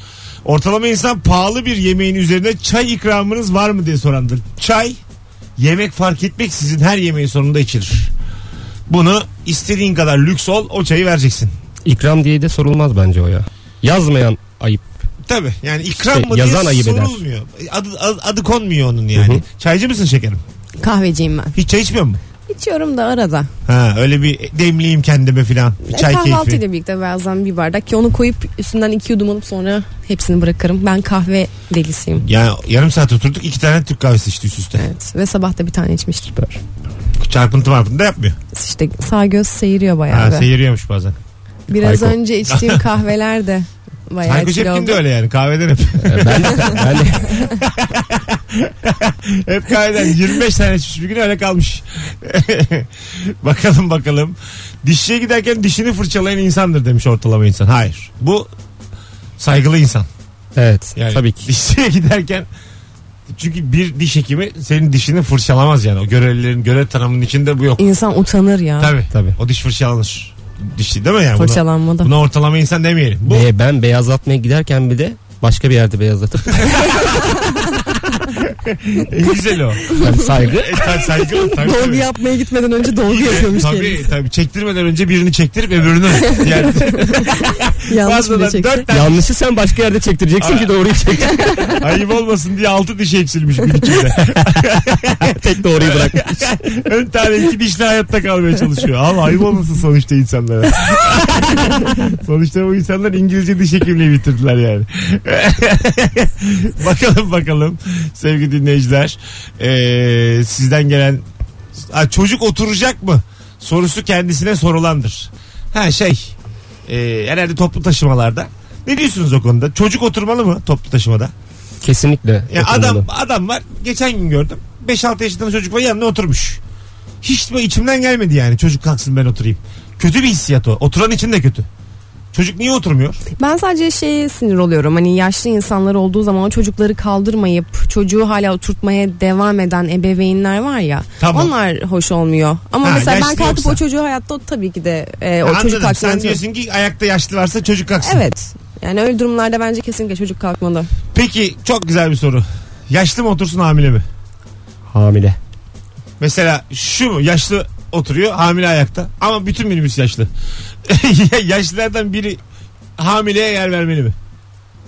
[SPEAKER 2] Ortalama insan pahalı bir yemeğin üzerine çay ikramınız var mı diye sorandır. Çay yemek fark etmeksizin her yemeğin sonunda içilir. Bunu istediğin kadar lüks ol o çayı vereceksin.
[SPEAKER 3] İkram diye de sorulmaz bence o ya. Yazmayan ayıp.
[SPEAKER 2] Tabii yani ikram
[SPEAKER 3] İşte
[SPEAKER 2] mı diye
[SPEAKER 3] yazan ayıp eder.
[SPEAKER 2] sorulmuyor. Adı, adı, adı konmuyor onun yani.
[SPEAKER 3] Hı hı.
[SPEAKER 2] Çaycı mısın şekerim?
[SPEAKER 4] Kahveciyim ben.
[SPEAKER 2] Hiç çay içmiyor musun?
[SPEAKER 4] İçiyorum da arada.
[SPEAKER 2] Ha öyle bir demleyeyim kendime filan. Bir
[SPEAKER 4] E,
[SPEAKER 2] çay keyfi.
[SPEAKER 4] kahvaltıyla birlikte bazen bir bardak ki onu koyup üstünden iki yudum alıp sonra hepsini bırakırım. Ben kahve delisiyim.
[SPEAKER 2] Yani yarım saat oturduk iki tane Türk kahvesi içti üst üste.
[SPEAKER 4] Evet ve sabah da bir tane içmiştim.
[SPEAKER 3] Süper.
[SPEAKER 2] Çarpıntı marpıntı da yapmıyor.
[SPEAKER 4] İşte sağ göz seyiriyor bayağı.
[SPEAKER 2] Ha,
[SPEAKER 4] be.
[SPEAKER 2] seyiriyormuş bazen.
[SPEAKER 4] Biraz
[SPEAKER 3] Hayko.
[SPEAKER 4] önce içtiğim kahveler de bayağı
[SPEAKER 2] Hayko
[SPEAKER 4] etkili
[SPEAKER 2] Cepkin
[SPEAKER 4] oldu.
[SPEAKER 2] de öyle yani kahveden hep.
[SPEAKER 3] Ee, Ben, ben de
[SPEAKER 2] hep kahveden 25 tane içmiş bir gün öyle kalmış. bakalım bakalım. Dişçiye giderken dişini fırçalayan insandır demiş ortalama insan. Hayır. Bu saygılı insan.
[SPEAKER 3] evet
[SPEAKER 2] Yani
[SPEAKER 3] tabii ki.
[SPEAKER 2] Dişçiye giderken çünkü bir diş hekimi senin dişini fırçalamaz yani. O görevlilerin görev tanımının içinde bu yok.
[SPEAKER 4] İnsan utanır ya.
[SPEAKER 2] Tabii.
[SPEAKER 3] Tabii.
[SPEAKER 2] O diş fırçalanır. Dişi değil mi yani? Buna-
[SPEAKER 4] Fırçalanmada.
[SPEAKER 2] Buna ortalama insan demeyelim. Bu
[SPEAKER 3] Be- ben beyazlatmaya giderken bir de başka bir yerde beyazlatıp
[SPEAKER 2] en güzeli o.
[SPEAKER 3] yani saygı.
[SPEAKER 2] E, ta- saygı tabii.
[SPEAKER 4] Dolgu
[SPEAKER 2] Tabii.
[SPEAKER 4] yapmaya gitmeden önce dolgu yapıyormuş
[SPEAKER 2] Tabii,
[SPEAKER 4] kendisi.
[SPEAKER 2] tabii. Çektirmeden önce birini çektirip öbürünü. Yani
[SPEAKER 4] Yanlış
[SPEAKER 2] fazladan
[SPEAKER 4] bile çekse.
[SPEAKER 2] dört tane
[SPEAKER 3] Yanlışı sen başka yerde çektireceksin ki doğruyu çek.
[SPEAKER 2] ayıp olmasın diye altı dişi eksilmiş gün içinde.
[SPEAKER 3] Tek doğruyu bırakmış.
[SPEAKER 2] Ön tane iki dişli hayatta kalmaya çalışıyor. Ama ayıp olmasın sonuçta insanlara. sonuçta bu insanlar İngilizce diş hekimliği bitirdiler yani. bakalım bakalım sevgili dinleyiciler. Ee, sizden gelen Ha, çocuk oturacak mı sorusu kendisine sorulandır. Ha şey ee, herhalde toplu taşımalarda. Ne diyorsunuz o konuda? Çocuk oturmalı mı toplu taşımada?
[SPEAKER 3] Kesinlikle.
[SPEAKER 2] Ya
[SPEAKER 3] oturmalı.
[SPEAKER 2] adam adam var. Geçen gün gördüm. 5-6 yaşında çocuk var yanına oturmuş. Hiç böyle içimden gelmedi yani. Çocuk kalksın ben oturayım. Kötü bir hissiyat o. Oturan için de kötü. Çocuk niye oturmuyor?
[SPEAKER 4] Ben sadece şeye sinir oluyorum. Hani yaşlı insanlar olduğu zaman o çocukları kaldırmayıp çocuğu hala oturtmaya devam eden ebeveynler var ya.
[SPEAKER 2] Tamam.
[SPEAKER 4] Onlar hoş olmuyor. Ama
[SPEAKER 2] Ha,
[SPEAKER 4] mesela ben
[SPEAKER 2] yaşlı
[SPEAKER 4] kalkıp
[SPEAKER 2] yoksa.
[SPEAKER 4] o çocuğu hayatta o- tabii ki de e, o çocuk
[SPEAKER 2] Anladım.
[SPEAKER 4] kalksın.
[SPEAKER 2] Sen diyorsun ki ayakta yaşlı varsa çocuk kalksın.
[SPEAKER 4] Evet. Yani öyle durumlarda bence kesinlikle çocuk kalkmalı.
[SPEAKER 2] Peki çok güzel bir soru. Yaşlı mı otursun hamile mi?
[SPEAKER 3] Hamile.
[SPEAKER 2] Mesela şu mu? Yaşlı oturuyor hamile ayakta. Ama bütün minibüs yaşlı. Yaşlılardan biri hamileye yer vermeli mi?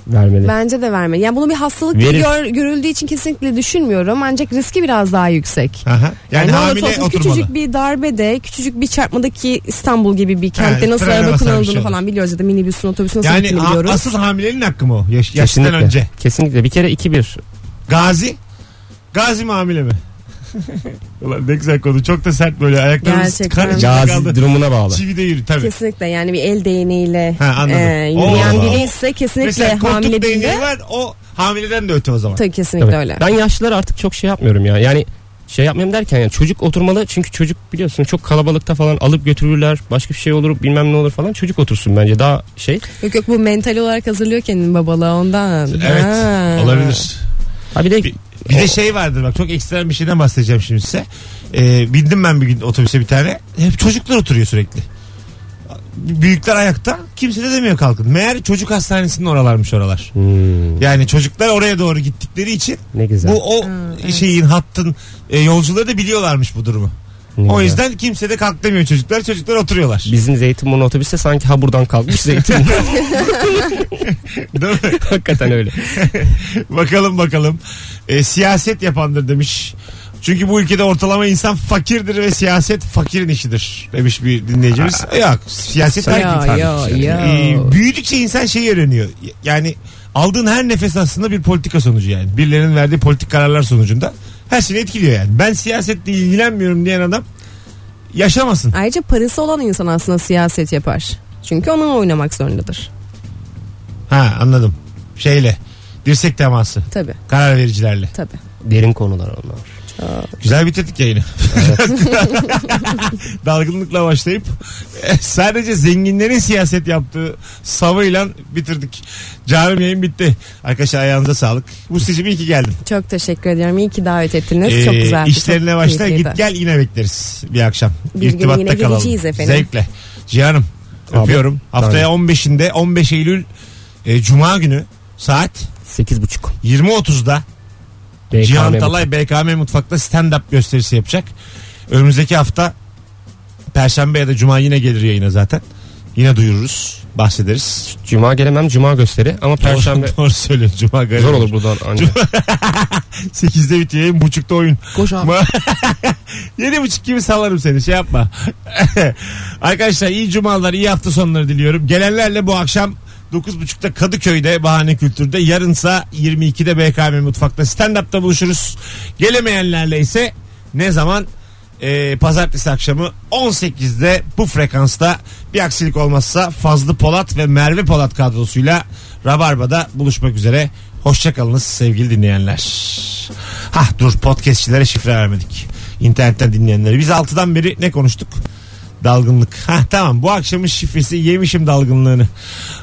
[SPEAKER 3] Vermeli.
[SPEAKER 4] Bence de vermeli. Yani bunu bir hastalık diye
[SPEAKER 3] Verir.
[SPEAKER 4] gör- görüldüğü için kesinlikle düşünmüyorum. Ancak riski biraz daha yüksek.
[SPEAKER 2] Aha. Yani,
[SPEAKER 4] ne olursa
[SPEAKER 2] hamile
[SPEAKER 4] olsun
[SPEAKER 2] oturmalı.
[SPEAKER 4] Küçücük bir darbede, küçücük bir çarpmadaki İstanbul gibi bir kentte
[SPEAKER 2] Evet,
[SPEAKER 4] nasıl
[SPEAKER 2] frene
[SPEAKER 4] araba
[SPEAKER 2] basan bir
[SPEAKER 4] kullanıldığını
[SPEAKER 2] şey olur.
[SPEAKER 4] falan biliyoruz ya da minibüsün otobüsün nasıl
[SPEAKER 2] Yani
[SPEAKER 4] gittiğini
[SPEAKER 2] a-
[SPEAKER 4] biliyoruz.
[SPEAKER 2] asıl hamilenin hakkı mı o? Yaş, yaştan
[SPEAKER 3] Kesinlikle.
[SPEAKER 2] önce.
[SPEAKER 3] Kesinlikle. Bir kere 2-1.
[SPEAKER 2] Gazi. Gazi mi hamile mi? Ulan ne güzel konu. Çok da sert böyle. Ayaklarımız
[SPEAKER 4] Gerçekten.
[SPEAKER 2] kar içinde
[SPEAKER 3] Gazi
[SPEAKER 2] kaldı.
[SPEAKER 3] durumuna bağlı.
[SPEAKER 2] Çivide yürü tabii.
[SPEAKER 4] Kesinlikle yani bir el değneğiyle
[SPEAKER 2] Ha, anladım.
[SPEAKER 4] e, yürüyen
[SPEAKER 2] Oo.
[SPEAKER 4] biri ise kesinlikle
[SPEAKER 2] Mesela koltuk
[SPEAKER 4] hamile değil
[SPEAKER 2] değneği
[SPEAKER 4] de
[SPEAKER 2] var. O hamileden de öte o zaman.
[SPEAKER 4] tabii kesinlikle
[SPEAKER 3] Tabii.
[SPEAKER 4] öyle.
[SPEAKER 3] Ben yaşlılar artık çok şey yapmıyorum ya. Yani şey yapmıyorum derken yani çocuk oturmalı çünkü çocuk biliyorsun çok kalabalıkta falan alıp götürürler başka bir şey olur bilmem ne olur falan çocuk otursun bence daha şey
[SPEAKER 4] Yok yok bu mental olarak hazırlıyor kendini babalığa ondan.
[SPEAKER 2] Evet.
[SPEAKER 4] Ha.
[SPEAKER 2] Olabilir.
[SPEAKER 3] ha bir de
[SPEAKER 2] Bir- Bir de şey vardır bak çok ekstrem bir şeyden bahsedeceğim şimdi size. Ee, bindim ben bir gün otobüse bir tane. Hep çocuklar oturuyor sürekli. Büyükler ayakta. Kimse de demiyor kalkın. Meğer çocuk hastanesinin oralarmış oralar.
[SPEAKER 3] Hmm,
[SPEAKER 2] Yani çocuklar oraya doğru gittikleri için
[SPEAKER 3] ne güzel
[SPEAKER 2] Bu o şeyin hattın e, yolcuları da biliyorlarmış bu durumu. O yüzden kimse de kalk demiyor çocuklar. Çocuklar oturuyorlar.
[SPEAKER 3] Bizim Zeytinburnu otobüste sanki ha buradan kalkmış Zeytinburnu.
[SPEAKER 2] Değil mi?
[SPEAKER 3] Hakikaten öyle.
[SPEAKER 2] Bakalım bakalım. E, siyaset yapandır demiş. Çünkü bu ülkede ortalama insan fakirdir ve siyaset fakirin işidir demiş bir dinleyicimiz. Yok siyaset
[SPEAKER 4] Ya,
[SPEAKER 2] herkes-
[SPEAKER 4] ya,
[SPEAKER 2] Yani,
[SPEAKER 4] ya.
[SPEAKER 2] e, büyüdükçe insan şeyi öğreniyor. Yani aldığın her nefes aslında bir politika sonucu yani. Birilerinin verdiği politik kararlar sonucunda her şeyi etkiliyor yani. Ben siyasetle ilgilenmiyorum diyen adam yaşamasın.
[SPEAKER 4] Ayrıca parası olan insan aslında siyaset yapar. Çünkü onunla oynamak zorundadır.
[SPEAKER 2] Ha anladım. Şeyle dirsek teması
[SPEAKER 4] Tabii
[SPEAKER 2] karar vericilerle.
[SPEAKER 4] tabii.
[SPEAKER 3] Derin konular onlar.
[SPEAKER 2] Güzel bitirdik yayını. Dalgınlıkla başlayıp sadece zenginlerin siyaset yaptığı savıyla bitirdik. Canım yayın bitti. Arkadaşlar ayağınıza sağlık. Bu seçim iyi ki geldin.
[SPEAKER 4] Çok teşekkür ediyorum. İyi ki davet ettiniz. Çok
[SPEAKER 2] Ee,
[SPEAKER 4] güzeldi.
[SPEAKER 2] İşlerine
[SPEAKER 4] Çok
[SPEAKER 2] başla
[SPEAKER 4] keyifliydi.
[SPEAKER 2] git gel yine bekleriz bir akşam.
[SPEAKER 4] Bir gün
[SPEAKER 2] İrtibatta
[SPEAKER 4] yine
[SPEAKER 2] kalalım.
[SPEAKER 4] geleceğiz efendim.
[SPEAKER 2] Zevkle. Cihan'ım
[SPEAKER 3] Abi,
[SPEAKER 2] öpüyorum. Haftaya 15'inde 15 Eylül e, Cuma günü saat
[SPEAKER 3] 8.30.
[SPEAKER 2] 20.30'da
[SPEAKER 3] BKM.
[SPEAKER 2] Cihan Talay BKM Mutfak'ta stand-up gösterisi yapacak. Önümüzdeki hafta Perşembe ya da Cuma yine gelir yayına zaten. Yine duyururuz, bahsederiz.
[SPEAKER 3] Cuma gelemem cuma gösteri ama perşembe
[SPEAKER 2] Doğru, doğru söylüyorsun. Cuma garip.
[SPEAKER 3] zor olur buradan ancak.
[SPEAKER 2] 8'de bitiyor yayın, buçukta oyun.
[SPEAKER 3] Koş abi.
[SPEAKER 2] Yedi buçuk gibi salarım seni şey yapma. Arkadaşlar iyi cumalar iyi hafta sonları diliyorum. Gelenlerle bu akşam 9.30'da Kadıköy'de Bahane Kültür'de yarınsa 22'de BKM Mutfak'ta stand-up'ta buluşuruz. Gelemeyenlerle ise ne zaman? Ee, pazartesi akşamı 18'de bu frekansta bir aksilik olmazsa Fazlı Polat ve Merve Polat kadrosuyla Rabarba'da buluşmak üzere. Hoşçakalınız sevgili dinleyenler. Hah dur podcastçilere şifre vermedik. İnternetten dinleyenlere. Biz 6'dan beri ne konuştuk? Dalgınlık. Hah tamam bu akşamın şifresi yemişim dalgınlığını.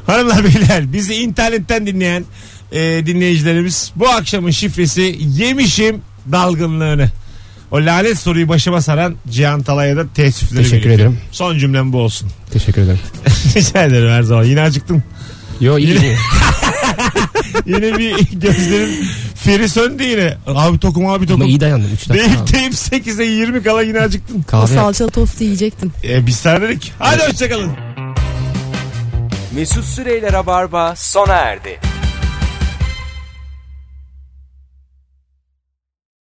[SPEAKER 2] Hanımlar beyler bizi internetten dinleyen e, dinleyicilerimiz bu akşamın şifresi yemişim dalgınlığını. O lanet soruyu başıma saran Cihan Talay'a da teessüfleri
[SPEAKER 3] Teşekkür
[SPEAKER 2] belirtiyorum.
[SPEAKER 3] ederim.
[SPEAKER 2] Son cümlem bu olsun.
[SPEAKER 3] Teşekkür ederim.
[SPEAKER 2] Rica ederim her zaman. Yine acıktım.
[SPEAKER 3] Yo iyi. iyi.
[SPEAKER 2] Yine bir gözlerim feri söndü yine. Abi tokum abi
[SPEAKER 3] Ama
[SPEAKER 2] tokum.
[SPEAKER 3] iyi dayandım 3 dakika.
[SPEAKER 2] Deyip deyip 8'e 20 kala yine acıktım.
[SPEAKER 4] O
[SPEAKER 3] Kahve yap.
[SPEAKER 4] salçalı tostu yiyecektim.
[SPEAKER 2] E, biz sana dedik. Hadi hoşçakalın.
[SPEAKER 1] Mesut Süreyler'e barba sona erdi.